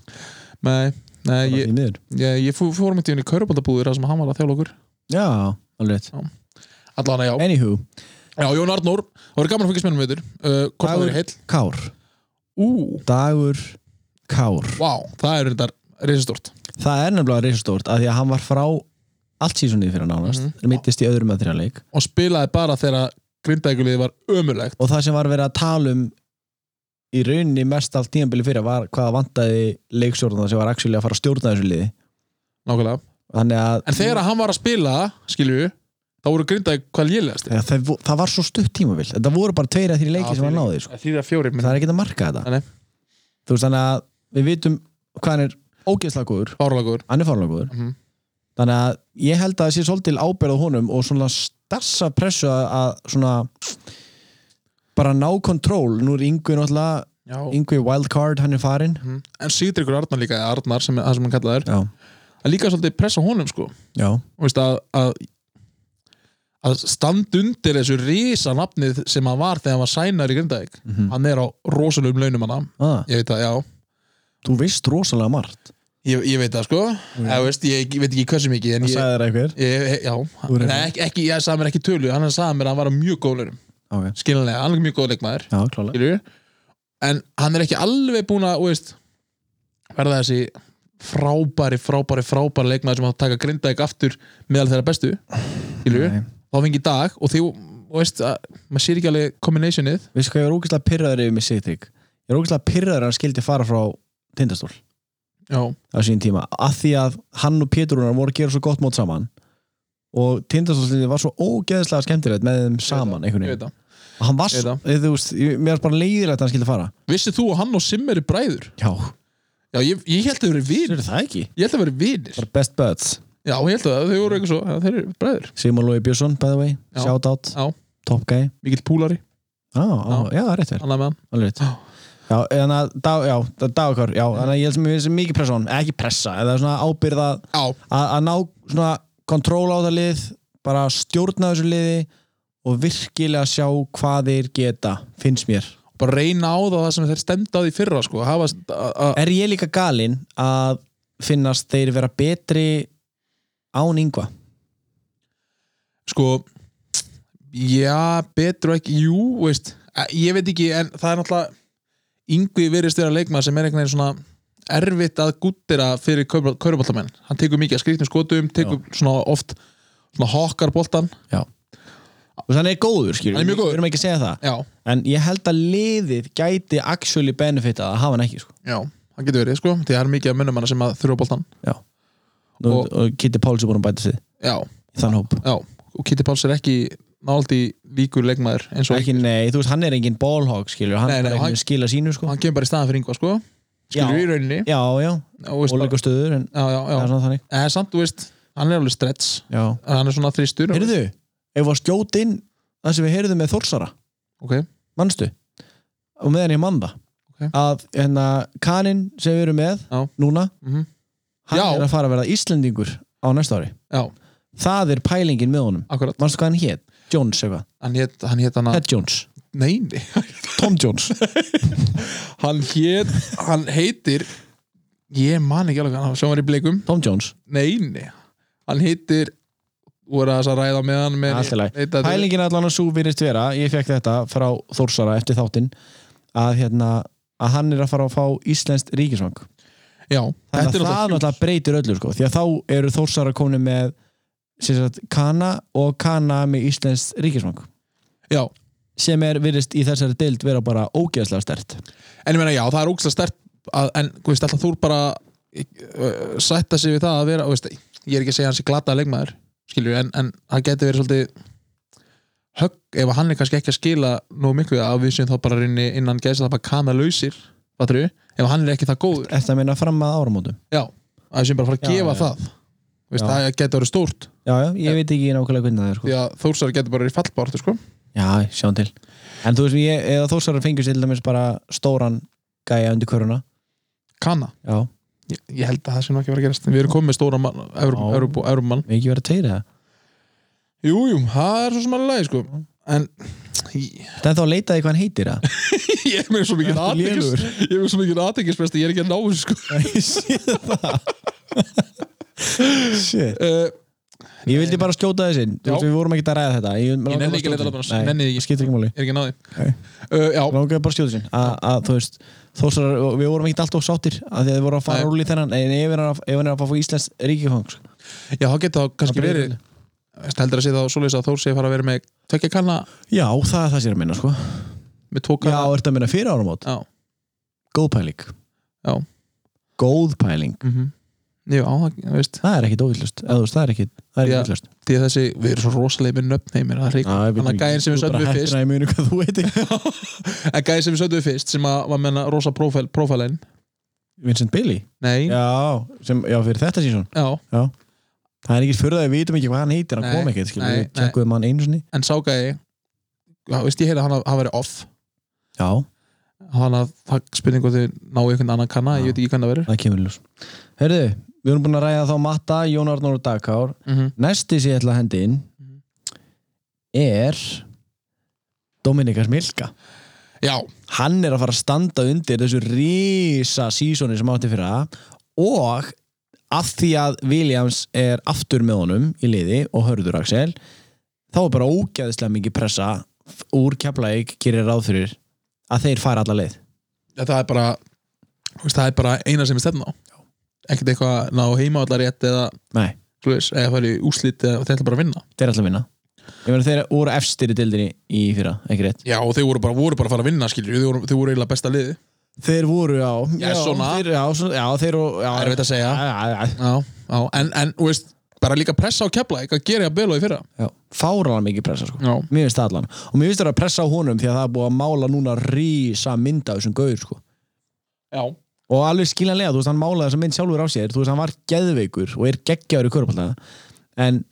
[SPEAKER 1] Nei, nei,
[SPEAKER 2] Bara
[SPEAKER 1] ég,
[SPEAKER 2] því miður.
[SPEAKER 1] ég, ég fór, fór með tíðin í körfuboltabúðir þar sem hann var að þjála okkur
[SPEAKER 2] Já, alveg rétt.
[SPEAKER 1] allan að já,
[SPEAKER 2] Anywho,
[SPEAKER 1] já, Jón Arnór, það voru gaman að fylgjast með hann veitur uh, hvort það
[SPEAKER 2] Dagur-
[SPEAKER 1] verið heill
[SPEAKER 2] Kár
[SPEAKER 1] Ú,
[SPEAKER 2] Dagur Kár
[SPEAKER 1] vá, það er reyndar reisastort
[SPEAKER 2] Það er nefnilega reisastórt að því að hann var frá allt sísunnið fyrir nánast,
[SPEAKER 1] Mhm.
[SPEAKER 2] mm mittist í öðrum að þrjáleik
[SPEAKER 1] og spilaði bara þegar grindækuliði var ömulegt
[SPEAKER 2] og það sem var verið að tala um í rauninni mest allt tíðanbili fyrir var hvað vantaði leikstjórnum sem var actually að fara að stjórna þessu liði
[SPEAKER 1] Nákvæmlega.
[SPEAKER 2] þannig að
[SPEAKER 1] En þegar að hann var að spila, skilju þá voru grindæk hvað lélegast
[SPEAKER 2] Þegar það, það var svo stutt tímabil þetta voru bara tveir að þrjir leiki sem hann náði sko.
[SPEAKER 1] Því það fjóri
[SPEAKER 2] það er ekkert að marka þetta
[SPEAKER 1] Nei.
[SPEAKER 2] þú veist þannig að við vitum hvað hann er ógeðslega góður
[SPEAKER 1] Bárlagur
[SPEAKER 2] hann er fárlagur
[SPEAKER 1] Mhm.
[SPEAKER 2] þannig að ég held að það sé svolítil ábyrð á honum og svona stassa pressu að, að svona bara ná kontról nú er Yngvi náttúrulega Yngvi wildcard hann er farinn
[SPEAKER 1] En Sigdryggur Arnar líka, eða Arnar sem, það sem hann kallaði
[SPEAKER 2] já,
[SPEAKER 1] þær að líka svolítið pressa honum sko
[SPEAKER 2] já
[SPEAKER 1] og veist að, að að standa undir þessu risa nafnið sem hann var þegar hann var sænar í Grindavík
[SPEAKER 2] Mhm.
[SPEAKER 1] hann er á rosalum launum hann
[SPEAKER 2] ah,
[SPEAKER 1] ég veit að, já,
[SPEAKER 2] þú veist rosalega margt
[SPEAKER 1] ég, ég veit að sko ég, veist, ég, ég veit ekki hversu mikið en
[SPEAKER 2] það
[SPEAKER 1] ég,
[SPEAKER 2] sagði þér eitthvað
[SPEAKER 1] Ég, já,
[SPEAKER 2] Þú er
[SPEAKER 1] Nei, ekki, ekki, ég sagði mér ekki tölu hann sagði mér að hann var á mjög góðleirum
[SPEAKER 2] okay.
[SPEAKER 1] skilinlega, hann er mjög góð leikmaður
[SPEAKER 2] já, klálega
[SPEAKER 1] skilurðu. en hann er ekki alveg búin að þú veist, verða þessi frábæri, frábæri, frábæri leikmaður sem að taka grindaðik aftur meðal þeirra bestu skilur,
[SPEAKER 2] Nei.
[SPEAKER 1] þá fengi í dag og því, þú veist, að, maður sér ekki alveg kombinæsjonið,
[SPEAKER 2] veistu hvað ég er ógeðslega pyrraður yfir mig Sigtrík ég er ógeðslega pyrraður að hann skildi fara frá tindastól
[SPEAKER 1] já,
[SPEAKER 2] á sín tíma að því að hann og Péturunar voru að gera svo gott mót saman og tindastólsliðið var svo ógeðslega skemmtilegt með þeim saman einhvern
[SPEAKER 1] ég
[SPEAKER 2] veginn
[SPEAKER 1] veit það
[SPEAKER 2] og hann var
[SPEAKER 1] Ég veit
[SPEAKER 2] svo, eða, þú veist, ég- mér er bara leiðilegt að hann skildi fara
[SPEAKER 1] vissið þú að hann og Sim eru bræður?
[SPEAKER 2] já,
[SPEAKER 1] Já, ég, ég held að þau eru vinir
[SPEAKER 2] það ekki
[SPEAKER 1] ég held að þau eru vinir,
[SPEAKER 2] bara best buds,
[SPEAKER 1] já, ég held að þau eru eitthvað svo, já, þeir eru bræður
[SPEAKER 2] Simon Lói Björnsson by the way,
[SPEAKER 1] Já.
[SPEAKER 2] shout out,
[SPEAKER 1] Já.
[SPEAKER 2] top guy
[SPEAKER 1] mikill púlari,
[SPEAKER 2] á, á, já, rétt verð,
[SPEAKER 1] annað með hann
[SPEAKER 2] alveg rétt.
[SPEAKER 1] Já.
[SPEAKER 2] já, en að dag- já, dagakar, já, þannig að ég held sem ég veist mikið pressa á hann, ekki pressa, en það er svona ábyrða
[SPEAKER 1] Já,
[SPEAKER 2] að, að ná svona kontról á það lið bara stjórna þessu liði og virkilega sjá hvað þeir geta finnst mér.
[SPEAKER 1] bara reyna á það sem þeir stemda á því fyrra sko. hafa, a, a,
[SPEAKER 2] Er ég líka galinn að finnast þeir vera betri án yngva?
[SPEAKER 1] sko já, betur ekki, jú veist, eh, ég veit ekki en það er náttúrulega yngvi verið vera leikmaður sem er einhvern veginn svona erfitt að gúttira fyrir kauruboltamenn hann tekur mikið að skrýtnum skotum tekur svona oft svona hokkar boltan
[SPEAKER 2] Og þannig er góður, skilur
[SPEAKER 1] Hann er mjög góður.
[SPEAKER 2] Við erum ekki að segja það.
[SPEAKER 1] já,
[SPEAKER 2] En ég held að liðið gæti actually benefitað að hafa hann ekki, sko.
[SPEAKER 1] já, það getur verið sko því það er mikið að munum hana sem að þurfa boltan Og-
[SPEAKER 2] Nú, og, og Kitty Páls er búin að bæta sig
[SPEAKER 1] já,
[SPEAKER 2] í þann hóp.
[SPEAKER 1] já, og Kitty Páls er ekki náldi líkur leikmaður eins og
[SPEAKER 2] Ekki, nei, þú veist, hann er engin ballhog, skilur Hann
[SPEAKER 1] Nei,
[SPEAKER 2] er
[SPEAKER 1] nei,
[SPEAKER 2] bara
[SPEAKER 1] hann-
[SPEAKER 2] einhvern veginn að skila sínu, sko.
[SPEAKER 1] hann kemur bara í staðan fyrir yngva sko skilur
[SPEAKER 2] Já.
[SPEAKER 1] í rauninni
[SPEAKER 2] Já, já,
[SPEAKER 1] og veist, bara,
[SPEAKER 2] óleika stöður, en
[SPEAKER 1] já, já,
[SPEAKER 2] það
[SPEAKER 1] já.
[SPEAKER 2] er svona þannig.
[SPEAKER 1] En samt, þú veist, hann er alveg stretch
[SPEAKER 2] Já.
[SPEAKER 1] En hann er svona þristur
[SPEAKER 2] Heyrðu, ef var skjót inn það sem við heyrðum með Þórsara
[SPEAKER 1] Ok,
[SPEAKER 2] mannstu, og meðan ég mann það
[SPEAKER 1] Ok.
[SPEAKER 2] að hérna kaninn sem við erum með
[SPEAKER 1] Já.
[SPEAKER 2] núna
[SPEAKER 1] Mhm.
[SPEAKER 2] hann
[SPEAKER 1] Já.
[SPEAKER 2] er að fara að verða Íslendingur á næsta ári
[SPEAKER 1] já,
[SPEAKER 2] það er pælingin með honum
[SPEAKER 1] akkurat
[SPEAKER 2] mannstu hvað hann hét? Jones eitthvað
[SPEAKER 1] Hann hét, hann hét hann að
[SPEAKER 2] Ted Jones
[SPEAKER 1] Nei, nei.
[SPEAKER 2] Tom Jones
[SPEAKER 1] hann hét, hann heitir Ég man ekki alveg hann Sjá hann í blikum
[SPEAKER 2] Tom Jones
[SPEAKER 1] Nei, nei Hann heitir Voru þess að ræða með hann með
[SPEAKER 2] Allt í lagi.
[SPEAKER 1] Nei, þetta-
[SPEAKER 2] pælingin allan að svo virðist vera ég fekk þetta frá Þórsara eftir þáttinn að hérna að hann er að fara að fá Íslenskt ríkisvang
[SPEAKER 1] Já, þetta er
[SPEAKER 2] Þannig að það
[SPEAKER 1] náttúrulega
[SPEAKER 2] náttúrulega breytir öllu sko því að þá eru þórsara komin með sem sagt, Kana og Kana með Íslands ríkismang
[SPEAKER 1] fjúk- Já,
[SPEAKER 2] sem er virðist í þessari deild vera bara ógeðslega stert
[SPEAKER 1] en ég meina já, það er ógstlega stert að, en þú veist, alltaf þú bara uh, sætta sig við það að vera þú veist, ég er ekki að segja hans í glata leikmaður skilur, en, en hann geti verið svolítið högg ef hann er kannski ekki að skila nógu miklu að við séum þá bara rinni innan gæsa það bara kana lausir fattarðu? ef hann er ekki það góður
[SPEAKER 2] Eftir að minna fram að áramótum
[SPEAKER 1] já, að við séum bara að fara að
[SPEAKER 2] Já,
[SPEAKER 1] gefa
[SPEAKER 2] já.
[SPEAKER 1] það Þú veist,
[SPEAKER 2] Já.
[SPEAKER 1] það geti verið stórt
[SPEAKER 2] Já, já, ég veit ekki nákvæmlega hvernig það er sko.
[SPEAKER 1] því að Þórsar getur bara verið fallbártu sko.
[SPEAKER 2] Já, sjáum til En þú veist, ég, eða þósar fengur sér til dæmis bara stóran gæja undir köruna
[SPEAKER 1] kana,
[SPEAKER 2] Já,
[SPEAKER 1] ég, ég held að það sé nú ekki að vera að gerast við erum komið stóra mann, Evrum,
[SPEAKER 2] Já.
[SPEAKER 1] Evrum, Evrum mann
[SPEAKER 2] við ekki verið að tegja það
[SPEAKER 1] Jú, jú, það er svo sem alveg lagi, sko En ég
[SPEAKER 2] Það er þá að leita því hvað hann heitir að
[SPEAKER 1] ég er með svo mikið
[SPEAKER 2] Ertu
[SPEAKER 1] aðtekis
[SPEAKER 2] lélegur?
[SPEAKER 1] Ég er með svo mikið aðtekisbesti, ég er ekki að ná þessu, sko
[SPEAKER 2] Ég sé það Shit
[SPEAKER 1] uh,
[SPEAKER 2] Ég vildi bara skjóta þessi Þú
[SPEAKER 1] Já.
[SPEAKER 2] veist, við vorum ekki að ræða þetta Ég,
[SPEAKER 1] Ég nenni ekki að leita labbarans, nenni því
[SPEAKER 2] Nei,
[SPEAKER 1] ekki.
[SPEAKER 2] skiptir ekki máli
[SPEAKER 1] Ég er ekki að ná því
[SPEAKER 2] Ok.
[SPEAKER 1] uh, Já,
[SPEAKER 2] langaði bara að stjóðu sin að að, þú veist þósar, við vorum ekkert alltaf sáttir að því að þið voru að fara
[SPEAKER 1] Nei.
[SPEAKER 2] rúli þennan en ef hann er að- ef hann er að fá Íslands ríkifang sko.
[SPEAKER 1] já, það getur þá kannski
[SPEAKER 2] Það byrjar
[SPEAKER 1] verið Veistu, Heldur að sé þá svoleiðis að Þór sé að fara að vera með Tvekja kanna
[SPEAKER 2] já það er það sér að minna sko
[SPEAKER 1] með tvo
[SPEAKER 2] já
[SPEAKER 1] kanna
[SPEAKER 2] ertu að minna fyrir áramót
[SPEAKER 1] já.
[SPEAKER 2] góð pæling
[SPEAKER 1] Já.
[SPEAKER 2] góð pæling
[SPEAKER 1] Mm Jú, á, það, þú veist
[SPEAKER 2] það er ekkit óvillust eða þú veist það er ekkit það er
[SPEAKER 1] Já.
[SPEAKER 2] ekkit óvillust
[SPEAKER 1] Því að þessi, við erum svo rosalegir með nöfn heimir Það er rík Þannig að gæðin sem við söndum við fyrst
[SPEAKER 2] ég muni hvað þú heiti
[SPEAKER 1] En gæðin sem við söndum við fyrst sem að var menna rosa prófæl, prófælin
[SPEAKER 2] Vincent Billy
[SPEAKER 1] Nei, já,
[SPEAKER 2] já sem já fyrir þetta sísón það er ekkit fyrir það við vitum ekki hvað hann heitir hann
[SPEAKER 1] Nei,
[SPEAKER 2] kom ekkit skilur
[SPEAKER 1] nei,
[SPEAKER 2] við tjekkuðum hann einu sinni
[SPEAKER 1] En sá gæði Já, veist, ég heyri að hann, hann veri off
[SPEAKER 2] já
[SPEAKER 1] þannig að það er spurning hvort þið náu einhvern annan kanna, ég veit ekki hvernig það verður
[SPEAKER 2] það kemur í ljós Herðu, við erum búin að ræða þá Matta, Jón Arnór og Dagkár
[SPEAKER 1] Mhm.
[SPEAKER 2] Næsti sem ég ætla að hendi inn
[SPEAKER 1] Mhm.
[SPEAKER 2] er Dominikas Milka
[SPEAKER 1] Já,
[SPEAKER 2] Hann er að fara að standa undir þessu risa sísoni sem átti fyrir það og að því að Williams er aftur með honum í liði og hörður Axel þá er bara ógæðislega mikið pressa f- úr Keflavík gerir ráð fyrir að þeir fara alla leið
[SPEAKER 1] ja, það er bara þú veist, það er bara eina sem er stefna á ekkert eitthvað að ná heima allar rétt eða
[SPEAKER 2] Nei,
[SPEAKER 1] slúiðis, eða fara í úslit eða þeir ætla bara að vinna
[SPEAKER 2] þeir er alltaf að vinna Ég meina þeir voru efstir í dildinni í fyrra, ekki rétt
[SPEAKER 1] Já, og þeir voru bara, voru bara að fara að vinna, skilur þeir voru, þeir voru eiginlega besta liði
[SPEAKER 2] Þeir voru, já
[SPEAKER 1] Já, svona.
[SPEAKER 2] Þeir, já, svona, já, þeir voru já,
[SPEAKER 1] Erfitt að segja.
[SPEAKER 2] já, já, já.
[SPEAKER 1] Já, já, en, en þú veist, bara líka pressa á kepla eitthvað gera ég að bela í fyrra
[SPEAKER 2] já. Fáralega mikið pressa, sko
[SPEAKER 1] Já,
[SPEAKER 2] Mér finnst það allan Og mér finnst það að pressa á honum Því að það er búið að mála núna rísa mynd af þessum gauður, sko
[SPEAKER 1] já,
[SPEAKER 2] Og alveg skiljanlega, þú veist, hann málaði þessa mynd sjálfur á sér Þú veist, hann var geðveikur og er geggjaður í körpallana En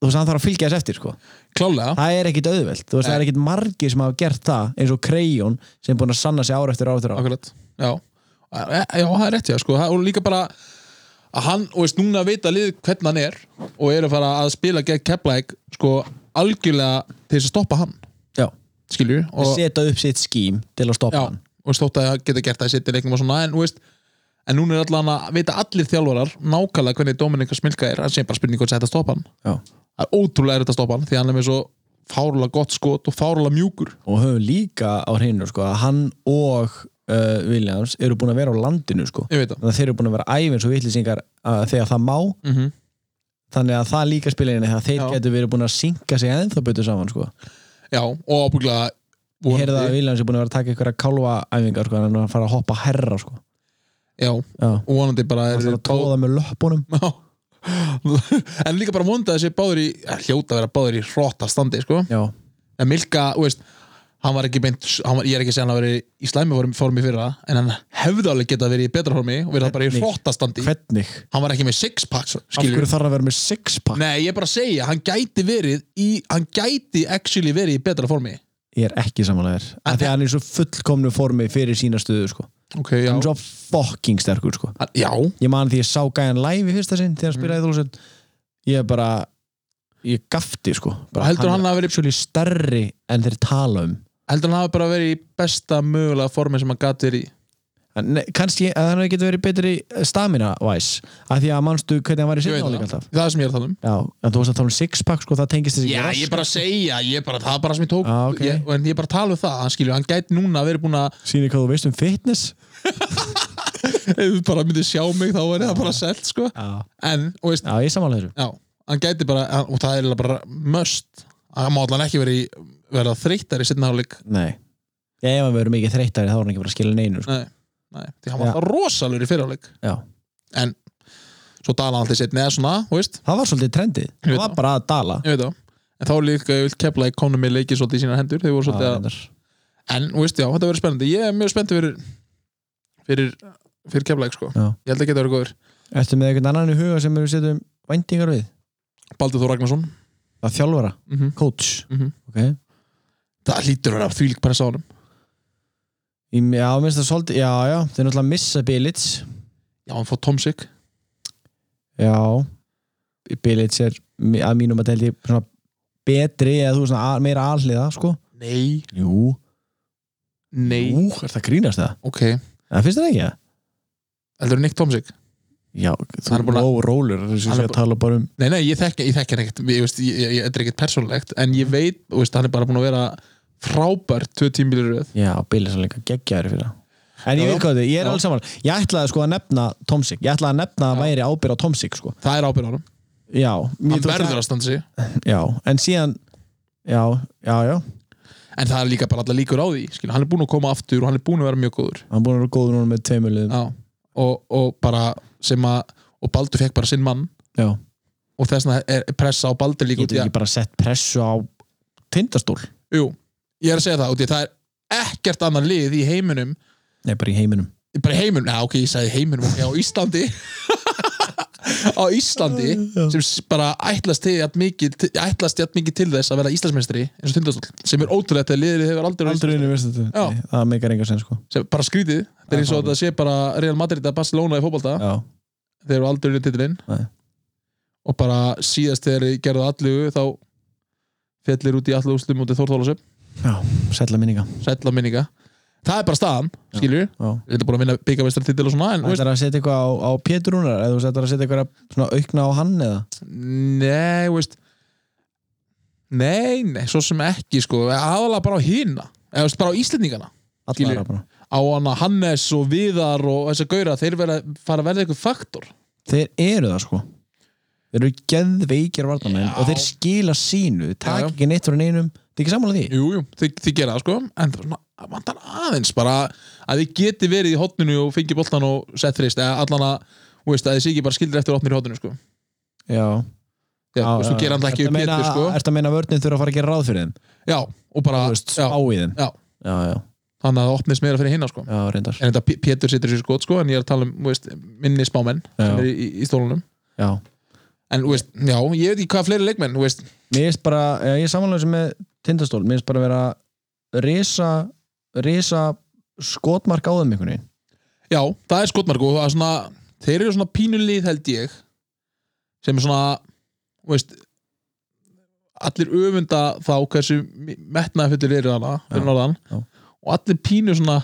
[SPEAKER 2] þú veist, hann þarf að fylgja þess eftir, sko
[SPEAKER 1] klálega
[SPEAKER 2] Það er ekkit auðvelt, þú veist, það er ekkit margir sem hafa gert það eins og Krejón sem er búin að sanna sig ára eftir ára eftir ára
[SPEAKER 1] Akkurat, já Eh, Já, það er rétt, já, sko, og líka bara að hann, og veist, núna veit að liðið hvernig hann er og eru að fara að spila gegn Keflæk, sko, algjörlega til þess að stoppa hann,
[SPEAKER 2] Já,
[SPEAKER 1] skilju og,
[SPEAKER 2] setja upp sitt skím til að stoppa
[SPEAKER 1] já,
[SPEAKER 2] hann
[SPEAKER 1] og stótt að geta gert það í sitt í leiknum og svona, en, þú veist en núna er allan að vita allir þjálfarar nákvæmlega hvernig Dominika Smilka er, hann sé bara spurning hvort þetta stoppa hann,
[SPEAKER 2] Já.
[SPEAKER 1] það er ótrúlega erfitt að stoppa hann, því hann er með svo fárulega gott skot og fárulega mjúkur
[SPEAKER 2] og höfum líka á hreinu sko, að hann og uh, Williams eru búin að vera á landinu sko.
[SPEAKER 1] ég veit það,
[SPEAKER 2] þannig að þeir eru búin að vera ævins og vitlisingar uh, þegar það má
[SPEAKER 1] mm
[SPEAKER 2] þannig að það líka spila inn í það að þeir
[SPEAKER 1] Já.
[SPEAKER 2] getur verið búin að synka sig ennþá betur saman sko.
[SPEAKER 1] já, og ábygglega
[SPEAKER 2] ég heyrði að Williams er búin að vera að taka ykkur að kálfa æfingar sko, hann er að fara að hoppa herra sko.
[SPEAKER 1] já,
[SPEAKER 2] Já.
[SPEAKER 1] og vonandi bara
[SPEAKER 2] hann er að
[SPEAKER 1] bá-
[SPEAKER 2] tóða með löppunum
[SPEAKER 1] Já. en líka bara vonda þessi báður í eh, hljóta að vera báður í hróta standi sko.
[SPEAKER 2] Já.
[SPEAKER 1] en Milka, þú veist hann var ekki beint, hann var, ég er ekki að segja hann að vera í slæmi formi- formi fyrir það, en hann hefði alveg getað verið í betra formi og verið það bara í
[SPEAKER 2] Hvernig?
[SPEAKER 1] hróta standi
[SPEAKER 2] hvernig?
[SPEAKER 1] hann var ekki með six pack
[SPEAKER 2] af
[SPEAKER 1] skilur
[SPEAKER 2] hverju þarf að vera með sixpack?
[SPEAKER 1] nei, ég er bara að segja, hann gæti verið í, hann gæti actually verið í betra formi
[SPEAKER 2] ég er ekki samanlegar af því að hann er í svo fullkomnu formi fyrir sína stöðu sko.
[SPEAKER 1] ok, já,
[SPEAKER 2] hann er svo fucking sterkur sko.
[SPEAKER 1] Hann- já,
[SPEAKER 2] ég man því ég sá gæjan live í fyrsta sinn þegar hann spilaði mm. þúlsund ég bara, ég gafti sko bara,
[SPEAKER 1] heldur hann
[SPEAKER 2] er
[SPEAKER 1] að verið
[SPEAKER 2] actually stærri en þeir tala um
[SPEAKER 1] heldur hann hafi bara verið í besta mögulega formi sem hann gæti verið í
[SPEAKER 2] En, Nei, kannski að hann hefði getur verið betri stamina wise, af því að mannstu hvernig hann var í
[SPEAKER 1] Ég veit
[SPEAKER 2] sinna áleik
[SPEAKER 1] það,
[SPEAKER 2] alltaf
[SPEAKER 1] það er sem ég er að tala um
[SPEAKER 2] Já, en þú varst að tala um sixpack sko, það tengist þessi
[SPEAKER 1] Já, ég er bara að segja, ég er bara, það er bara sem ég tók
[SPEAKER 2] Ah, ok.
[SPEAKER 1] ég, en ég er bara að tala um það, hann skilur, hann gæti núna verið búin að,
[SPEAKER 2] Sýnir hvað þú veist um fitness
[SPEAKER 1] ef þú bara myndið sjá mig þá verið það bara selt, sko
[SPEAKER 2] Já,
[SPEAKER 1] en, og veist,
[SPEAKER 2] já ég samanlega þessu
[SPEAKER 1] já, hann gæti bara hann- og það er eiginlega bara möst hann má allan ekki verið í- verða þreyttar í setna hálfleik
[SPEAKER 2] Nei, ef hann verður mikið þreyttari þá er hann ekki bara að skila neinu sko.
[SPEAKER 1] Nei. Nei, því hann
[SPEAKER 2] Já.
[SPEAKER 1] var það rosalur í fyrirháleik
[SPEAKER 2] Já.
[SPEAKER 1] en svo dala alltaf setni eða svona, þú veist,
[SPEAKER 2] það var svolítið trendið, það
[SPEAKER 1] veit
[SPEAKER 2] var
[SPEAKER 1] það.
[SPEAKER 2] bara að dala
[SPEAKER 1] ég veit það en þá líka ég vil kepla í konum með leikið svolítið í sínar hendur þeir voru
[SPEAKER 2] Ah, Já,
[SPEAKER 1] svolítið að,
[SPEAKER 2] reyndar.
[SPEAKER 1] en þú veist, já, þetta verður spennandi ég er mjög spennt fyrir fyrir, fyrir kepla sko,
[SPEAKER 2] Já.
[SPEAKER 1] ég held að geta verið góður
[SPEAKER 2] Ertu með einhvern annan í huga sem við setjum væntingar við?
[SPEAKER 1] Baldur Þór Ragnarsson
[SPEAKER 2] Að þjálfara,
[SPEAKER 1] mm
[SPEAKER 2] coach
[SPEAKER 1] Mhm.
[SPEAKER 2] okay.
[SPEAKER 1] það lítur að vera þvílík pressa á honum
[SPEAKER 2] Í, já, minnst það svolítið, já, já, þeir náttúrulega missa Bilic
[SPEAKER 1] já, hann fór Tomsik
[SPEAKER 2] Já Bilic er mi- að mínum að teldi svona betri eða þú veist svona al- meira alliða sko
[SPEAKER 1] nei,
[SPEAKER 2] Jú,
[SPEAKER 1] nei,
[SPEAKER 2] Jú er það grínast það?
[SPEAKER 1] ok
[SPEAKER 2] Það finnst það ekki það?
[SPEAKER 1] heldur Nick Tomsik
[SPEAKER 2] Já,
[SPEAKER 1] Hann er búinn að-
[SPEAKER 2] Ló rólur, það er
[SPEAKER 1] Hann
[SPEAKER 2] sem
[SPEAKER 1] er
[SPEAKER 2] sé að tala bara um
[SPEAKER 1] Nei, nei, ég þekki, ég þekki hann ekkert ég, veist, ég, ég, ég, Þetta er ekkert persónlegt En ég veit, þú veist, hann er bara búin að vera frábær Tvö tímbilir röð
[SPEAKER 2] Já, Bilic er líka geggjæri fyrir það En ég
[SPEAKER 1] Já,
[SPEAKER 2] veit hvað þetta, er, ég er
[SPEAKER 1] Já.
[SPEAKER 2] alveg saman Ég ætlaði sko að nefna Tomsik Ég ætlaði að nefna að
[SPEAKER 1] Já.
[SPEAKER 2] væri ábyrð á Tomsik sko
[SPEAKER 1] Það er ábyrð á hann
[SPEAKER 2] Já, mér
[SPEAKER 1] Hann
[SPEAKER 2] þú-
[SPEAKER 1] verður að standa sig
[SPEAKER 2] Já, en síðan Já, já, já
[SPEAKER 1] En það er líka bara allar líkur á því skil. Hann er búin að koma aftur og hann er búin að vera mjög góður
[SPEAKER 2] Hann er búin að vera góður núna með tveimur liðum
[SPEAKER 1] Já, og, og bara sem að Og Baldur fekk bara sinn mann
[SPEAKER 2] Já,
[SPEAKER 1] Og þessna er pressa á Baldur líka út
[SPEAKER 2] getur
[SPEAKER 1] í
[SPEAKER 2] ekki
[SPEAKER 1] að
[SPEAKER 2] bara sett pressu á tindastól
[SPEAKER 1] Jú, ég er að segja það út í að það er ekkert annan lið í heiminum
[SPEAKER 2] Nei, bara í heiminum
[SPEAKER 1] Bara í heiminum, já ok, ég sagði heiminum ok, Á Íslandi Á Íslandi sem s- bara ætlast til jafn mikið, til- ætlast jafn mikið til þess að vera Íslandsmeistri eins og tindastóll sem er ótrúlegt að liðið hefur aldrei,
[SPEAKER 2] Aldrei unni veist þetta
[SPEAKER 1] Já.
[SPEAKER 2] Nei, Það meikar enga sen sko
[SPEAKER 1] sem bara skrítið þetta er eins og
[SPEAKER 2] Já,
[SPEAKER 1] það sé bara Real Madrid að Barcelona í fótbolta
[SPEAKER 2] Já,
[SPEAKER 1] þeir eru aldrei unni titilinn
[SPEAKER 2] Nei.
[SPEAKER 1] og bara síðast þegar þeir gerðu allu þá fellir út í allu úslum út í Þórþólasöp
[SPEAKER 2] já, sætla minninga
[SPEAKER 1] sætla minninga það er bara staðan, skilur við
[SPEAKER 2] Já
[SPEAKER 1] þetta er búin að vinna byggamestrar titil og svona en,
[SPEAKER 2] Það
[SPEAKER 1] veist,
[SPEAKER 2] er að setja eitthvað á, á Pétur Rúnar eða þú setjar að setja eitthvað svona aukna á hann eða
[SPEAKER 1] nei, veist nei, nei, svo sem ekki sko, aðalega bara á hina eða veist, bara á Íslendingana Skilur.
[SPEAKER 2] allara bara
[SPEAKER 1] á hana Hannes og Viðar og þess að gauðra, þeir vera, fara að verða eitthvað faktor
[SPEAKER 2] Þeir eru það sko Þeir eru geðveikir varnamenn
[SPEAKER 1] Já.
[SPEAKER 2] og þeir skila sínu þeir
[SPEAKER 1] Já,
[SPEAKER 2] taka
[SPEAKER 1] já.
[SPEAKER 2] ekki neitt frá neinum Þið ekki sammála því?
[SPEAKER 1] Jú, jú, þið, þið gera það sko en það svona vantar aðeins bara að þið geti verið í hotninu og fengi boltan og sett þrist, eða allan að þú veist, að þið sé ekki bara skildir eftir hotninu í hotninu sko
[SPEAKER 2] Já,
[SPEAKER 1] Já, þú veist, þú gera hann það ekki
[SPEAKER 2] Ertu að
[SPEAKER 1] upp
[SPEAKER 2] meina-
[SPEAKER 1] betur sko
[SPEAKER 2] Ertu að meina að vörninn þurfa að fara að gera ráð fyrir þeim?
[SPEAKER 1] Já, og bara,
[SPEAKER 2] Þú veist,
[SPEAKER 1] já,
[SPEAKER 2] spá í þeim
[SPEAKER 1] Já.
[SPEAKER 2] já, já,
[SPEAKER 1] þannig að það opnist meira fyrir hinna sko
[SPEAKER 2] já reyndar
[SPEAKER 1] En þetta P- Pétur situr sér skot sko, en ég er að tala um, þú veist, minni spámenn
[SPEAKER 2] Já.
[SPEAKER 1] sem er í, í, í stólunum
[SPEAKER 2] Já
[SPEAKER 1] En, þú veist, já, ég veit ekki hvað fleiri leikmenn, þú veist
[SPEAKER 2] Mér finnst bara, já, ég er samanlega sem með tindastól, mér finnst bara að vera risa, risa skotmark á þeim einhvern veginn.
[SPEAKER 1] Já, það er skotmark og það er svona þeir eru svona pínulíð held ég sem er svona þú veist, allir öfunda þá hversu metnaðfullir eru hana fyrir
[SPEAKER 2] Já,
[SPEAKER 1] norðan
[SPEAKER 2] já.
[SPEAKER 1] og allir pínu svona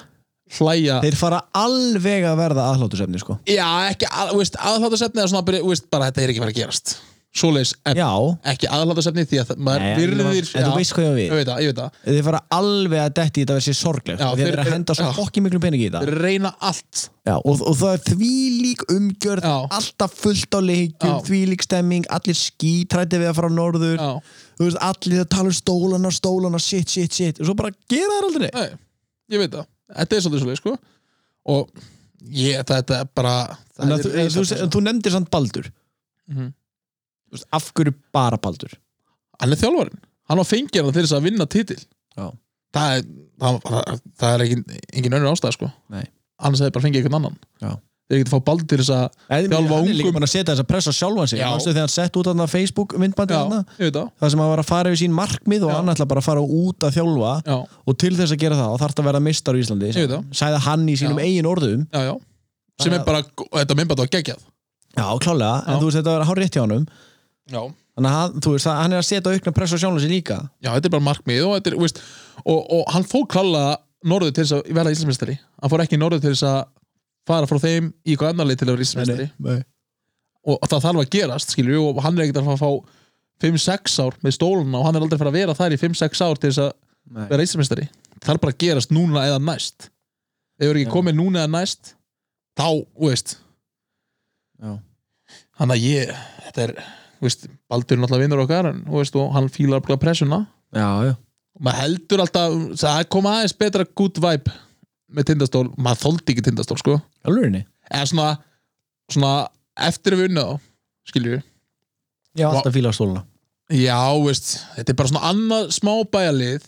[SPEAKER 1] hlæja
[SPEAKER 2] Þeir fara alveg að verða aðhlátusefni, sko.
[SPEAKER 1] Já, ekki að, þú veist, aðhlátasefni eða svona bara, þú veist, bara þetta er ekki verið að gerast Svoleiðis, en
[SPEAKER 2] Já.
[SPEAKER 1] ekki aðhlátasefni því að það- maður
[SPEAKER 2] Nei, en-
[SPEAKER 1] virðir
[SPEAKER 2] En þú
[SPEAKER 1] já,
[SPEAKER 2] veist hvað ég á
[SPEAKER 1] ég
[SPEAKER 2] við.
[SPEAKER 1] veit það, ég veit það
[SPEAKER 2] Þeir fara alveg að detti í þetta að vera sér sorglegt.
[SPEAKER 1] Já,
[SPEAKER 2] Já, þeir
[SPEAKER 1] þeir
[SPEAKER 2] eru að
[SPEAKER 1] eru-
[SPEAKER 2] henda svo
[SPEAKER 1] já.
[SPEAKER 2] fokki miklu pening í þetta.
[SPEAKER 1] Þeir reyna allt
[SPEAKER 2] Já, og, og það er þvílík umgjörð,
[SPEAKER 1] Já.
[SPEAKER 2] alltaf fullt á leikjum,
[SPEAKER 1] Já.
[SPEAKER 2] þvílík stemming, allir skítrætti við að fara á norður.
[SPEAKER 1] Já,
[SPEAKER 2] Þú veist, allir að tala um stólana, stólana, shit, shit, shit. Og svo bara gera það aldrei.
[SPEAKER 1] Nei, ég veit það Þetta er svolítið svolítið sko og ég, þetta er bara það
[SPEAKER 2] En að
[SPEAKER 1] er
[SPEAKER 2] þú, en þú,
[SPEAKER 1] risastórt.
[SPEAKER 2] en þú nefndir samt Baldur
[SPEAKER 1] Mhm.
[SPEAKER 2] Þú veist, Af hverju bara Baldur?
[SPEAKER 1] hann er þjálfarinn, hann var fengjarna til þess að vinna titil
[SPEAKER 2] Já.
[SPEAKER 1] það er, það, það- það er ekki, engin önnur ástæð sko
[SPEAKER 2] Nei.
[SPEAKER 1] annars hefði bara fengið einhvern annan
[SPEAKER 2] Já.
[SPEAKER 1] þeir getið að fá baldi til þess að Þjálfa
[SPEAKER 2] Hann er líka
[SPEAKER 1] ungum.
[SPEAKER 2] búin að setja þess að pressa á sjálfan sig
[SPEAKER 1] Já.
[SPEAKER 2] Manstu þegar hann sett út þarna Facebook myndbandi
[SPEAKER 1] já,
[SPEAKER 2] þarna
[SPEAKER 1] ég veit það
[SPEAKER 2] Það sem hann var að fara yfir sín markmið og
[SPEAKER 1] Já.
[SPEAKER 2] hann ætla bara að fara út að þjálfa
[SPEAKER 1] já,
[SPEAKER 2] og til þess að gera það og þarf að vera mistar í Íslandi
[SPEAKER 1] Ég veit það.
[SPEAKER 2] Sæða hann í sínum
[SPEAKER 1] Já.
[SPEAKER 2] eigin orðum
[SPEAKER 1] já, já sem
[SPEAKER 2] Það-
[SPEAKER 1] er bara, þetta minnbætt var geggjað
[SPEAKER 2] Já, klálega,
[SPEAKER 1] Já.
[SPEAKER 2] en þú veist þetta var að hár rétt hjá honum
[SPEAKER 1] já,
[SPEAKER 2] Þannig að hann- þú veist, hann er að setja aukna pressa á sjálfan sig líka
[SPEAKER 1] já, þetta er bara markmið og, þetta er, þú veist, og, og hann fór klálega norður til þess að verða íslensmestari hann fór ekki norður til þess að fara frá þeim í eitthvað annarlið til að vera íslensmestari
[SPEAKER 2] Nei.
[SPEAKER 1] og það þarf að gerast skilur, og hann er ekkert að fara að fá 5-6 ár með stóluna og hann er aldrei að fara að vera þar í 5-6 ár til þess að
[SPEAKER 2] Nei.
[SPEAKER 1] vera íslensmestari það er bara að gerast núna eða næst ef það er ekki
[SPEAKER 2] Já.
[SPEAKER 1] komið núna eða næst þá, þú veist
[SPEAKER 2] Já.
[SPEAKER 1] hann að ég, þetta er þú veist, Baldur er náttúrulega vinnur okkar en, þú veist, og hann fílar bara pressuna
[SPEAKER 2] Já, já
[SPEAKER 1] og maður heldur alltaf, það koma aðeins betra good vibe með tindastól maður þoldi ekki tindastól sko
[SPEAKER 2] Alvörinni?
[SPEAKER 1] eða svona, svona eftir að við unna þá skilju
[SPEAKER 2] Já,
[SPEAKER 1] Vá.
[SPEAKER 2] alltaf fíla stóluna
[SPEAKER 1] já veist þetta er bara svona annað smábæjalið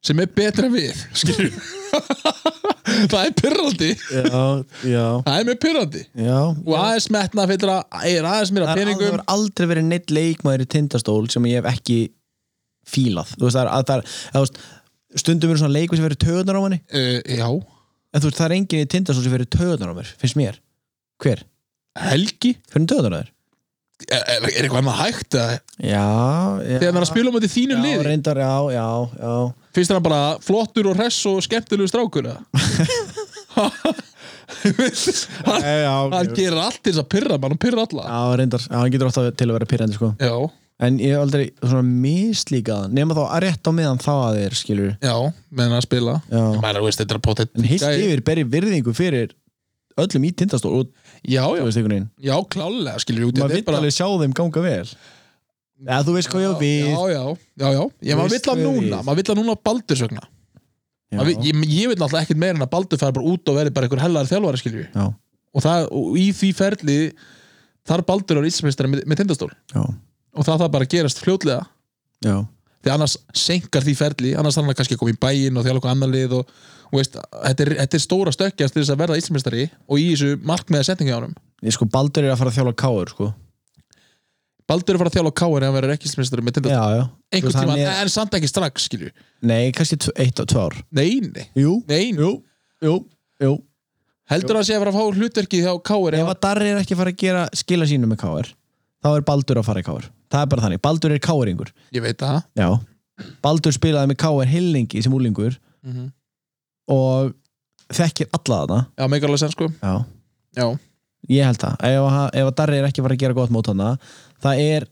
[SPEAKER 1] sem er betra en við skilju það er pyrrandi
[SPEAKER 3] Já, já,
[SPEAKER 1] það er mjög pyrrandi
[SPEAKER 3] já
[SPEAKER 1] og aðeins metna fyrir að er aðeins mér
[SPEAKER 2] Það
[SPEAKER 1] að
[SPEAKER 2] er
[SPEAKER 1] peningum
[SPEAKER 2] hefur aldrei verið neitt leikmaður í tindastól sem ég hef ekki fílað Þú veist, það er, að, það er að, veist, stundum eru svona leikmaður sem verið töðunar á manni
[SPEAKER 1] uh, já,
[SPEAKER 2] En þú veist, það er enginn í tindastól sem verið töðunar á mér, finnst mér Hver?
[SPEAKER 1] helgi
[SPEAKER 2] Hvernig töðunar á þér?
[SPEAKER 1] er, er er eitthvað annað hægt eða?
[SPEAKER 2] Já, já
[SPEAKER 1] þegar hann er að spila um þetta í þínu
[SPEAKER 2] Já,
[SPEAKER 1] liði
[SPEAKER 2] reyndar, já, já, já
[SPEAKER 1] finnst þér hann bara flottur og hress og skemmtilegu strákur eða? hann,
[SPEAKER 3] Eh, já,
[SPEAKER 1] hann
[SPEAKER 3] ok.
[SPEAKER 1] gerir allt til þess að pyrra mann og pyrra alla
[SPEAKER 2] Já, reyndar, já, hann getur alltaf til að vera pyrrandi sko.
[SPEAKER 1] já,
[SPEAKER 2] En ég hef aldrei svona mislíkaðan Nefna þá að rétt á meðan þá að þeir skilur
[SPEAKER 1] já, meðan að spila
[SPEAKER 2] Já.
[SPEAKER 1] Mæra, veist, þetta er potið
[SPEAKER 2] En heilt
[SPEAKER 1] já,
[SPEAKER 2] yfir beri virðingu fyrir öllum í tindastól og þú
[SPEAKER 1] já,
[SPEAKER 2] veist einhvern veginn
[SPEAKER 1] já, klálega skilur út
[SPEAKER 2] Maður
[SPEAKER 1] þetta er
[SPEAKER 2] vill alveg sjá þeim ganga vel Eða þú veist hvað ég á við
[SPEAKER 1] já, já, já, já,
[SPEAKER 2] Þú
[SPEAKER 1] ég maður
[SPEAKER 2] veist
[SPEAKER 1] vill að
[SPEAKER 2] hvað við-
[SPEAKER 1] núna maður vill að núna baldursögna
[SPEAKER 2] Já.
[SPEAKER 1] ég, ég vil náttúrulega ekkert meira en að baldur fær bara út og verði bara einhver hellaður þjálfari skilju
[SPEAKER 2] Já.
[SPEAKER 1] og, það, og í því ferli þar baldur á Íslandsmeistari með, með tindastól
[SPEAKER 2] Já.
[SPEAKER 1] og það það bara að gerast fljótlega
[SPEAKER 2] Já.
[SPEAKER 1] því annars senkar því ferli annars þarf hann að kannski að koma í bæinn og þjálfa okkur annar lið og, og veist, þetta er, þetta er stóra stökkjast til þess að verða Íslandsmeistari og í þessu markmiða setningi árum
[SPEAKER 2] Ég sko Baldur er að fara að þjála káur sko
[SPEAKER 1] Baldur er að fara að þjálfa káir en hann verður ekki Íslandsmeistari með tindastól
[SPEAKER 2] Já, já
[SPEAKER 1] einhvern
[SPEAKER 2] Þú veist,
[SPEAKER 1] tíma,
[SPEAKER 2] hann
[SPEAKER 1] en samt ekki strax skilju,
[SPEAKER 2] Nei, kannski tv- eitt og tvö ár
[SPEAKER 1] neini
[SPEAKER 2] Jú,
[SPEAKER 1] nein,
[SPEAKER 2] jú, jú, jú
[SPEAKER 1] heldur að sé að vera að fá hlutverki hjá káir
[SPEAKER 2] Ef að Darri er ekki að fara að gera skila sínu með káur þá er Baldur að fara í káur Það er bara þannig, Baldur er káuringur
[SPEAKER 1] ég veit það
[SPEAKER 2] Já Baldur spilaði með káur hillingi sem úlingur
[SPEAKER 1] mm -hmm.
[SPEAKER 2] og þekkir alla þarna
[SPEAKER 1] já, megar alveg sen sko
[SPEAKER 2] Já
[SPEAKER 1] já,
[SPEAKER 2] Ég held það, ef, að- ef að Darri er ekki að fara að gera gott mót hana það er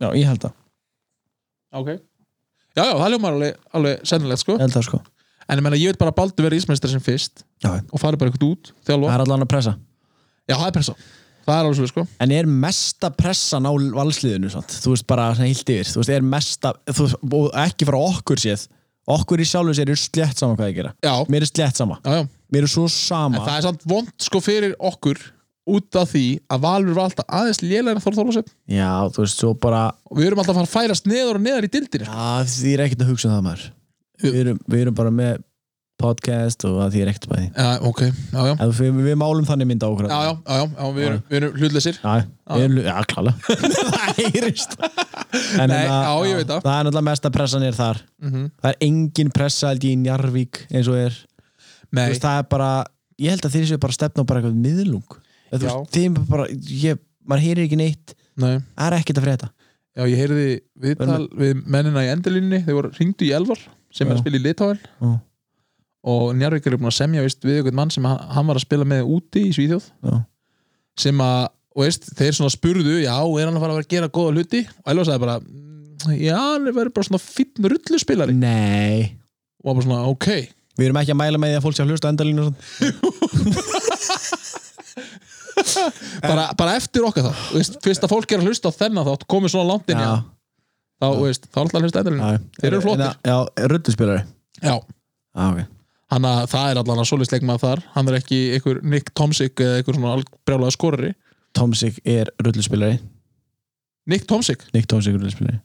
[SPEAKER 2] Já, ég held það,
[SPEAKER 1] ok já, já, það ljómar alveg, alveg sennilegt sko
[SPEAKER 2] ég held það sko
[SPEAKER 1] en ég menna, ég veit bara að Baldur verði Íslandsmeistari sem fyrst
[SPEAKER 2] Já.
[SPEAKER 1] og fari bara eitthvað út,
[SPEAKER 2] Það
[SPEAKER 1] þjálfa
[SPEAKER 2] er allan að pressa
[SPEAKER 1] já, það er pressa, það er alveg svo sko
[SPEAKER 2] En er mesta pressan á valsliðinu sant? Þú veist bara svona heilt yfir Þú veist, er mesta, þú, og ekki frá okkur séð Okkur í sjálfu sér er slett sama hvað ég gera
[SPEAKER 1] já,
[SPEAKER 2] Mér er slett sama,
[SPEAKER 1] já, já
[SPEAKER 2] mér er svo
[SPEAKER 1] En
[SPEAKER 2] sama
[SPEAKER 1] það er samt vond sko fyrir okkur út af því að Valur var alltaf aðeins lélæri en Þór Þórlásef
[SPEAKER 2] Já, þú veist, svo bara
[SPEAKER 1] og við erum alltaf að fara að færast neðar og neðar í dildinni sko.
[SPEAKER 2] Já, því er ekkert að hugsa um það maður Við erum, við erum bara með podcast og að því er ekkert bæði
[SPEAKER 1] Já, ok, já, já
[SPEAKER 2] Við, við málum þannig mynd á
[SPEAKER 1] Já,
[SPEAKER 2] okkur
[SPEAKER 1] já, já, já, já við erum, við erum hlutleysir
[SPEAKER 2] Já, við erum- já, klála Það heyrist En
[SPEAKER 1] Nei,
[SPEAKER 2] hérna,
[SPEAKER 1] já, ég veit það.
[SPEAKER 2] Það er náttúrulega mesta pressan er þar
[SPEAKER 1] mm
[SPEAKER 2] Það er engin pressa held ég í Njarvík eins og er Þú
[SPEAKER 1] Nei,
[SPEAKER 2] veist, Það er bara, ég held að þeir séu bara að stefna á bara eitthvað miðlung
[SPEAKER 1] Já.
[SPEAKER 2] Þú veist, Þeim er bara, ég, maður heyrir ekki neitt
[SPEAKER 1] nei,
[SPEAKER 2] Það er ekkert að frétta
[SPEAKER 1] já, ég heyrði viðtal við mennina í endurlínni, þeir voru ringdu í Elvar sem er
[SPEAKER 2] Já.
[SPEAKER 1] að spila í Litáin
[SPEAKER 2] Já.
[SPEAKER 1] og Njarvík er búin að semja veist, við einhvern mann sem hann, hann var að spila með úti í Svíþjóð
[SPEAKER 2] Já.
[SPEAKER 1] sem að, og veist, þeir svona spurðu já, er hann að fara að vera að gera góða hluti og Elvar sagði bara, "Mm, já, hann er verið bara svona fínn rulluspilari
[SPEAKER 2] Nei
[SPEAKER 1] og var bara svona ok
[SPEAKER 2] Við erum ekki að mæla með því að fólk sé að hlusta á endalínu og svona.
[SPEAKER 1] bara, bara eftir okkar þá þú veist, fyrst að fólk er að hlusta á þennan þá komið svona langt inn í hann, þá, þú veist, þá er alltaf að hlusta endurinn
[SPEAKER 2] já.
[SPEAKER 1] Þeir eru flottir.
[SPEAKER 2] En það- Já, rulluspilari
[SPEAKER 1] já,
[SPEAKER 2] Já, ok
[SPEAKER 1] hann að það er allan að solisleikmaður þar hann er ekki einhver Nick Tomsik eða einhver svona brjálega skorari
[SPEAKER 2] Tomsik er rulluspilari
[SPEAKER 1] Nick Tomsik?
[SPEAKER 2] Nick Tomsik er rulluspilari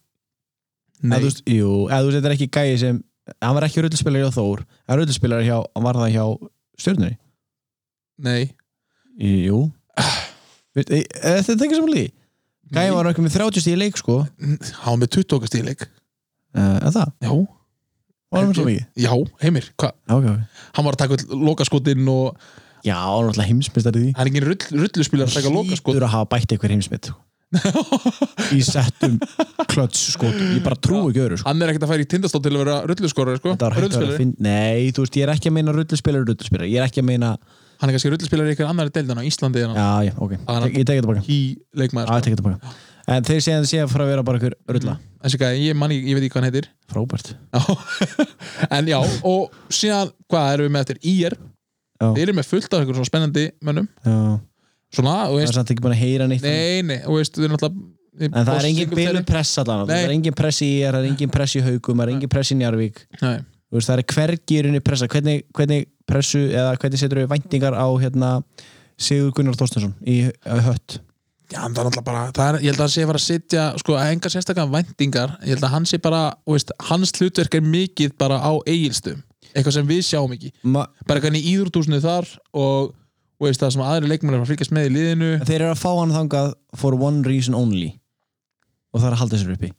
[SPEAKER 1] Nei,
[SPEAKER 2] eða, þú veist, Jú, eða þú veist, þetta er ekki gæi sem hann var ekki rulluspilari hjá Þór hann rulluspilari hjá, hann var það hjá stjörnunni
[SPEAKER 1] nei
[SPEAKER 2] Jú Veist, e- e- Þetta er ekki sem líði Gæi var okkur með 30 stíð leik sko Eh,
[SPEAKER 1] hann var með 20 okkar stíleik
[SPEAKER 2] eða það,
[SPEAKER 1] já,
[SPEAKER 2] var hann svo mikið
[SPEAKER 1] já, heimir, hvað?
[SPEAKER 2] Já, ok, ok.
[SPEAKER 1] hann var að taka öll lokaskotinn og
[SPEAKER 2] Já, hann var alltaf heimsmyndstari því
[SPEAKER 1] hann er engin rull, rulluspilar að sko. taka lokaskot
[SPEAKER 2] Hlýtur að hafa bætt einhver heimsmynd í settum klöts sko ég bara trú ekki öru sko
[SPEAKER 1] hann er ekkert að færa í tindastótt til að vera rulluskorari sko.
[SPEAKER 2] Þetta var hægt að vera
[SPEAKER 1] rulluspilari,
[SPEAKER 2] að finna- Nei, þú veist, ég er ekki að meina rulluspilari rulluspilari, ég er ekki að meina
[SPEAKER 1] hann er kannski rulluspilari í einhver annar deildan á Íslandi en Ah, hann
[SPEAKER 2] Já, já, ok,
[SPEAKER 1] Það er-
[SPEAKER 2] Tek- ég tekið þetta baka
[SPEAKER 1] hí leikmaður sko.
[SPEAKER 2] Já, ég tekið þetta baka En þeir segja að það sé að fara að vera bara einhver rulla
[SPEAKER 1] þessi gæði, ég man ekki, ég veit ekki hvað hann heitir
[SPEAKER 2] Frábært
[SPEAKER 1] Já. en já, og síðan hvað erum við með eftir IR
[SPEAKER 2] Já.
[SPEAKER 1] þeir eru með fullt af einhverjum svona spennandi mönnum
[SPEAKER 2] Já,
[SPEAKER 1] svona, og
[SPEAKER 2] það er
[SPEAKER 1] veist,
[SPEAKER 2] samt ekki búin að heyra neitt
[SPEAKER 1] nei, nei og veist, þau eru náttúrulega
[SPEAKER 2] En það er engin
[SPEAKER 1] Þeir-
[SPEAKER 2] byrju press allan
[SPEAKER 1] Nei.
[SPEAKER 2] Það er engin press í er, það er engin press í haugum Það er engin press í Njarvík
[SPEAKER 1] Nei.
[SPEAKER 2] Þú veist, Það er hvergi í rauninni pressa Hvernig, hvernig pressu eða hvernig setur við væntingar á hérna, Sigur Gunnar Þorstensson í í hött
[SPEAKER 1] Já, en það er alltaf bara, það er, ég held að hann sé að fara að sitja, sko, að enga sérstaklega væntingar ég held að hann sé bara, þú veist, hans hlutverk er mikið bara á eigilstum eitthvað sem við sjáum ekki,
[SPEAKER 2] Ma
[SPEAKER 1] bara hvernig íðrútúsinu þar og, þú veist, það sem aðri leikmenn er að fylgjast með í liðinu
[SPEAKER 2] þeir eru að fá hann þangað for one reason only og það er að halda sér uppi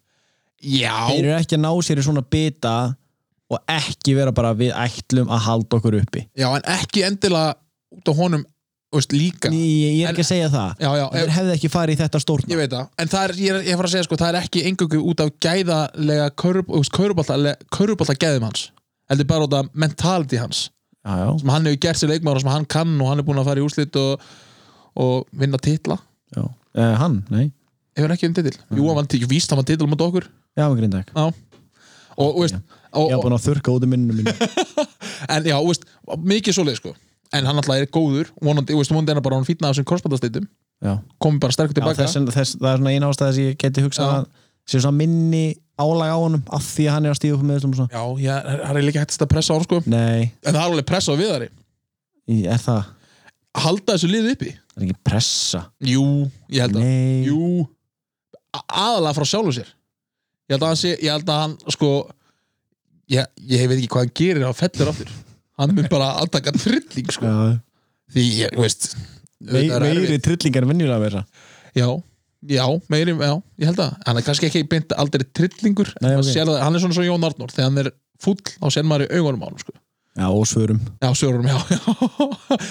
[SPEAKER 2] þeir
[SPEAKER 1] Já,
[SPEAKER 2] eru ekki að ná sér í svona bita og ekki vera bara við ætlum að halda okkur uppi
[SPEAKER 1] já, en ekki endilega út á honum, þú veist, líka
[SPEAKER 2] Ný, ég er ekki að segja það
[SPEAKER 1] Já, já,
[SPEAKER 2] þeir hefði ekki farið í þetta
[SPEAKER 1] Ég
[SPEAKER 2] stórna
[SPEAKER 1] veit það, en það er, ég er, ég er að fara að segja sko, það er ekki engöngu út af gæðalega körubalta gæðum hans heldur bara út af mentality hans
[SPEAKER 2] já, já.
[SPEAKER 1] sem hann hefur gert sér leikmára sem hann kann og hann er búin að fara í úrslit og, og vinna titla
[SPEAKER 2] Já. Eh, hann, nei,
[SPEAKER 1] hefur hann ekki um titil, jú, hann vann titil, víst hann vann titil mot okkur,
[SPEAKER 2] já, með grindæk
[SPEAKER 1] já og, og veist, og,
[SPEAKER 2] ég er
[SPEAKER 1] og,
[SPEAKER 2] búin að þurka út um minnum mínu
[SPEAKER 1] en já, og veist mikið svoleið sko, en hann alltaf er góður vonandi, og veist, vonandi er hann bara hann fýtna af þessum korsbandasteytum,
[SPEAKER 2] já.
[SPEAKER 1] komið bara sterkur
[SPEAKER 2] Já,
[SPEAKER 1] tilbaka
[SPEAKER 2] þess, þess, það er svona eina ástæða sem ég geti hugsað
[SPEAKER 1] Já.
[SPEAKER 2] að sé svona minni álag á honum af því að hann er að stíða upp með þessum svona
[SPEAKER 1] já, já, það er líka hægt að pressa á hann sko
[SPEAKER 2] nei,
[SPEAKER 1] en það er alveg pressa á viðari
[SPEAKER 2] ég- er það
[SPEAKER 1] halda þessu liði uppi
[SPEAKER 2] það er ekki pressa
[SPEAKER 1] Jú, ég held að
[SPEAKER 2] nei,
[SPEAKER 1] Jú, A- aðalega frá sjálfu sér Ég held að hann sé, ég held að hann sko Ég, ég veit ekki hvað hann gerir á fellur aftur Hann mun bara aðtaka trilling sko
[SPEAKER 2] Já.
[SPEAKER 1] Því ég, þú veist
[SPEAKER 2] Mei,
[SPEAKER 1] auðvitað er
[SPEAKER 2] meiri
[SPEAKER 1] erfitt.
[SPEAKER 2] trillingar en venjulega meira
[SPEAKER 1] Já, já, meiri, já, ég held að Hann er kannski ekki beint aldrei trillingur
[SPEAKER 2] Nei,
[SPEAKER 1] Nei,
[SPEAKER 2] ok.
[SPEAKER 1] okay. það, Hann er svona svo Jón Arnór Þegar hann er fúll á sér maður í augunum á hann sko
[SPEAKER 2] já, og svörum
[SPEAKER 1] Já, sögurum, já, já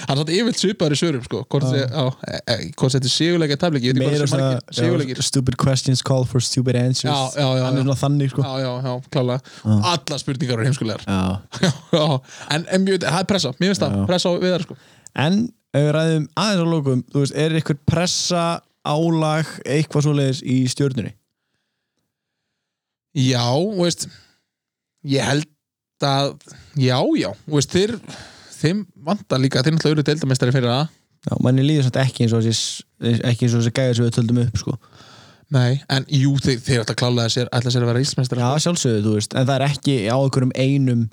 [SPEAKER 1] Hann satt yfirlt svipaður í sögurum, sko Hvort
[SPEAKER 2] Já.
[SPEAKER 1] þið- já, e- e- hvort þetta er sigurleika tafleiki Ég veit ekki
[SPEAKER 2] meira
[SPEAKER 1] hvað þessi
[SPEAKER 2] svona
[SPEAKER 1] margir sigurleikir
[SPEAKER 2] já, stupid questions call for stupid answers
[SPEAKER 1] Já, já, já,
[SPEAKER 2] hann
[SPEAKER 1] já.
[SPEAKER 2] er svona þannig sko já,
[SPEAKER 1] Já, já, já, klálega Alla spurningar eru heimskulegar
[SPEAKER 2] já.
[SPEAKER 1] Já, en, en mjög, það er pressa, mér finnst það
[SPEAKER 2] Já.
[SPEAKER 1] Pressa á við þar, sko
[SPEAKER 2] en ef við ræðum aðeins á lókum þú veist, er eitthvað pressa álag eitthvað svoleiðis í stjörnunni
[SPEAKER 1] Já, þú veist Ég held að Já, já, þú veist, þeir Þeim vantar líka, þeir náttúrulega eru deildameistari fyrir það
[SPEAKER 2] já, manni líður samt ekki eins og þessi ekki eins og þessi gæður sem við töldum upp sko
[SPEAKER 1] Nei, en jú, þeir, þeir ætla klálega sér Ætla sér að vera íslmeistari
[SPEAKER 2] Já, sjálfsögðu, þú veist, en það er ekki á einhverjum einum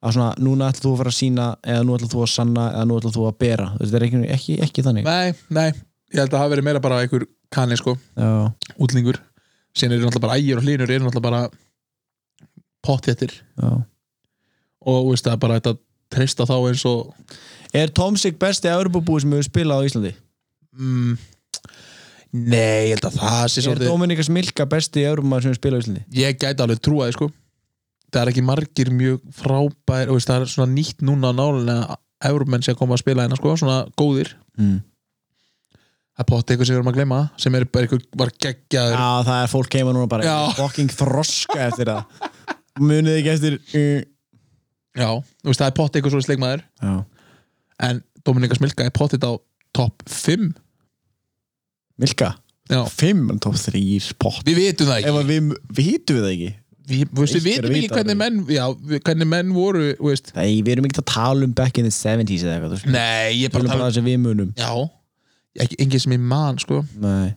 [SPEAKER 2] að svona, núna ætlar þú að fara að sína eða nú ætlar þú að sanna eða nú ætlar þú að bera þú veist, það er ekki, ekki, ekki þannig
[SPEAKER 1] Nei, nei, ég held að hafa verið meira bara einhver kanni, sko
[SPEAKER 2] Já,
[SPEAKER 1] útlingur síðan eru náttúrulega bara ægir og hlínur eru náttúrulega bara pottjættir
[SPEAKER 2] já
[SPEAKER 1] og þú veist, það er bara þetta treysta þá eins og
[SPEAKER 2] Er Tomsik besti örbúbúi sem hefur spilað á Íslandi?
[SPEAKER 1] mm, nei, ég held að það sé
[SPEAKER 2] Er
[SPEAKER 1] svolítið
[SPEAKER 2] Dominikas Milka besti örbúbúi sem hefur spilað á Íslandi?
[SPEAKER 1] ég gæti alveg trúaði sko það er ekki margir mjög frábær og veist, það er svona nýtt núna nálega að Evrumenn sé að koma að spila hérna sko svona góðir,
[SPEAKER 2] Mm.
[SPEAKER 1] það er potti eitthvað sem við erum að gleyma sem er bara eitthvað var
[SPEAKER 2] Já,
[SPEAKER 1] geggjaður
[SPEAKER 2] það er fólk keima núna bara
[SPEAKER 1] Já.
[SPEAKER 2] fucking þroska eftir það Munið ekki eftir uh,
[SPEAKER 1] já, þú veist, það er potti eitthvað svona sleikmaður
[SPEAKER 2] Já,
[SPEAKER 1] en Dominika Smilka er pottið á topp 5
[SPEAKER 2] Milka
[SPEAKER 1] já,
[SPEAKER 2] 5, top 3, pott
[SPEAKER 1] við vitum það ekki
[SPEAKER 2] Ef að við vitum við það ekki
[SPEAKER 1] við, þú veist, við vitum
[SPEAKER 2] Eitt er að
[SPEAKER 1] ekki
[SPEAKER 2] vita
[SPEAKER 1] hvernig
[SPEAKER 2] alveg.
[SPEAKER 1] menn já, við- hvernig menn voru þú veist.
[SPEAKER 2] Nei, við erum ekki að tala um back in the 70s eða eitthvað, þú veist
[SPEAKER 1] nei, ég
[SPEAKER 2] Við
[SPEAKER 1] bara
[SPEAKER 2] erum bara um-
[SPEAKER 1] tala um
[SPEAKER 2] það sem við munum
[SPEAKER 1] já, ekki, engin sem ég man sko.
[SPEAKER 2] Nei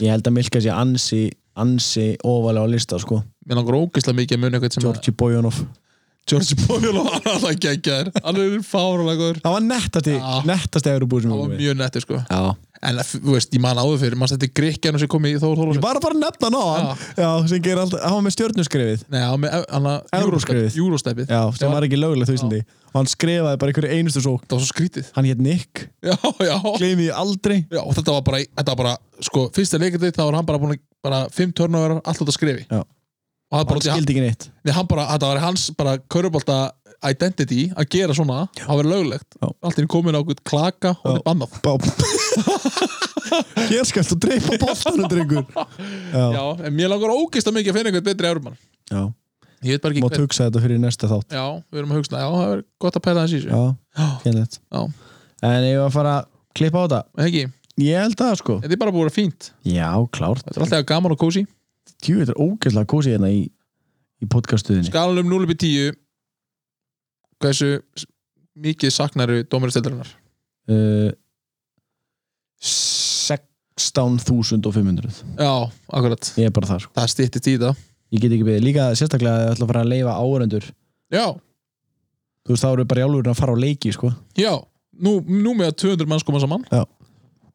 [SPEAKER 2] Ég held að Milka sé ansi ansi ofalega á lista sko
[SPEAKER 1] mér langar ógeðslega mikið að muni eitthvað sem
[SPEAKER 2] Georgi Bojanov
[SPEAKER 1] George Bóvíló hann er alltaf geggjaður hann er fárulegur
[SPEAKER 2] Það var nettasti
[SPEAKER 1] Já.
[SPEAKER 2] nettasti Evropúi sem
[SPEAKER 1] hann var
[SPEAKER 2] við
[SPEAKER 1] mjög nettur sko.
[SPEAKER 2] Já
[SPEAKER 1] en þú veist, ég man áður fyrir maður stætti grikkjanu sem kom í Þór
[SPEAKER 2] Ég
[SPEAKER 1] Þólasson
[SPEAKER 2] var bara að nefna hann á hann Já, sem gerir alltaf Hann var með stjörnuskrefið
[SPEAKER 1] nei, hann með hann að
[SPEAKER 2] Evrópskriðið.
[SPEAKER 1] Eurosteppið
[SPEAKER 2] Já,
[SPEAKER 1] Já.
[SPEAKER 2] sem var ekki lögulegt þú veist Og hann skrifaði bara einhverju einustu sók
[SPEAKER 1] það var svo skrítið
[SPEAKER 2] Hann hétt Nick
[SPEAKER 1] já, já,
[SPEAKER 2] Gleimi ég aldrei
[SPEAKER 1] já og þetta var bara, þetta var bara sko, fyrsta leikandi þá var hann bara búin að bara fimm törnöverar alltaf að skrifi
[SPEAKER 2] Já.
[SPEAKER 1] og það er bara
[SPEAKER 2] Hann
[SPEAKER 1] út í-
[SPEAKER 2] skildi ekki neitt
[SPEAKER 1] Nei, hann bara, þetta var hans bara körubólta identity að gera svona að vera löglegt,
[SPEAKER 2] Já.
[SPEAKER 1] allt er komin á einhvern klaka og
[SPEAKER 2] Já.
[SPEAKER 1] annað
[SPEAKER 2] Bá Hér skalt þú dreipa bóttanum, drengur Já,
[SPEAKER 1] Já, en mér langar ógeist að mikið að finna einhvern betri eurumann
[SPEAKER 2] já
[SPEAKER 1] Ég veit bara ekki
[SPEAKER 2] Mátt
[SPEAKER 1] hver
[SPEAKER 2] hugsa þetta fyrir næsta þátt
[SPEAKER 1] Já, við erum að hugsa, já, það er gott að pæla þessi Já,
[SPEAKER 2] Já,
[SPEAKER 1] já.
[SPEAKER 2] kynlegt
[SPEAKER 1] já.
[SPEAKER 2] En ég var að fara að klippa á þetta
[SPEAKER 1] ekki,
[SPEAKER 2] Ég held að sko
[SPEAKER 1] þetta er bara búið að vera fínt
[SPEAKER 2] Já, klárt
[SPEAKER 1] Þetta er alltaf gaman og kósi
[SPEAKER 2] Tjú, þetta er ógeðslega kósið hérna í, í podcastuðinni
[SPEAKER 1] Skalanum 0 um upp í 10 Hversu s- mikið saknaru dómuristellarinnar?
[SPEAKER 2] uh, 16.500
[SPEAKER 1] Já, akkurat,
[SPEAKER 2] Ég er bara þar sko
[SPEAKER 1] það stýttist í það
[SPEAKER 2] Ég get ekki beðið Líka sérstaklega að ég ætla að fara að leifa áörendur
[SPEAKER 1] Já,
[SPEAKER 2] þú veist, þá eru við bara í álfurinn að fara á leiki sko.
[SPEAKER 1] Já, nú, nú með að 200 manns koma saman
[SPEAKER 2] Já.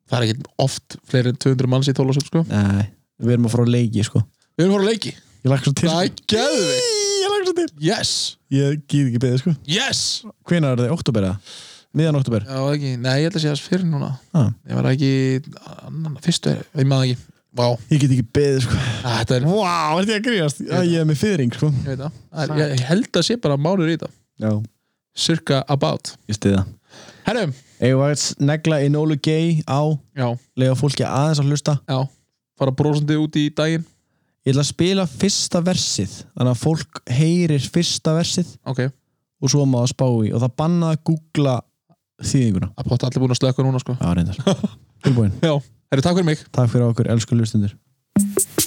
[SPEAKER 1] Það er ekki oft fleiri en 200 manns í tólasöld sko.
[SPEAKER 2] Nei, við erum að fara á leiki sko.
[SPEAKER 1] Við erum að fara á leiki
[SPEAKER 2] ég lagt svo til
[SPEAKER 1] Það er geðvig
[SPEAKER 2] ég lagt svo til
[SPEAKER 1] Yes,
[SPEAKER 2] ég gýð ekki beðið sko
[SPEAKER 1] yes
[SPEAKER 2] hvenær er það, oktober eða? miðan oktober
[SPEAKER 1] Já, ekki, nei, ég held að sé þess fyrir núna
[SPEAKER 2] Ah.
[SPEAKER 1] Ég var ekki, annan, fyrstu er, ég maður ekki Vá,
[SPEAKER 2] ég get ekki beðið sko
[SPEAKER 1] að, þetta er,
[SPEAKER 2] vau, wow, þetta er að gríast Æ, ég er með fyrring sko
[SPEAKER 1] ég veit það Það er- Ég held að sé bara mánur í þetta
[SPEAKER 2] já
[SPEAKER 1] Circa about
[SPEAKER 2] ég stiða
[SPEAKER 1] Herrum,
[SPEAKER 2] eigum við að negla í nólu gay á
[SPEAKER 1] já,
[SPEAKER 2] lega fólki aðeins að hlusta
[SPEAKER 1] já Fara brosandi út í daginn
[SPEAKER 2] ég ætla að spila fyrsta versið þannig að fólk heyrir fyrsta versið
[SPEAKER 1] Ok,
[SPEAKER 2] og svo má það spá í og það bannað að googla þýðinguna
[SPEAKER 1] að potta allir búin að slöka núna sko
[SPEAKER 2] já, reyndar tilbúin
[SPEAKER 1] Já, herru, takk fyrir mig
[SPEAKER 2] Takk fyrir okkur, elsku hlustundur.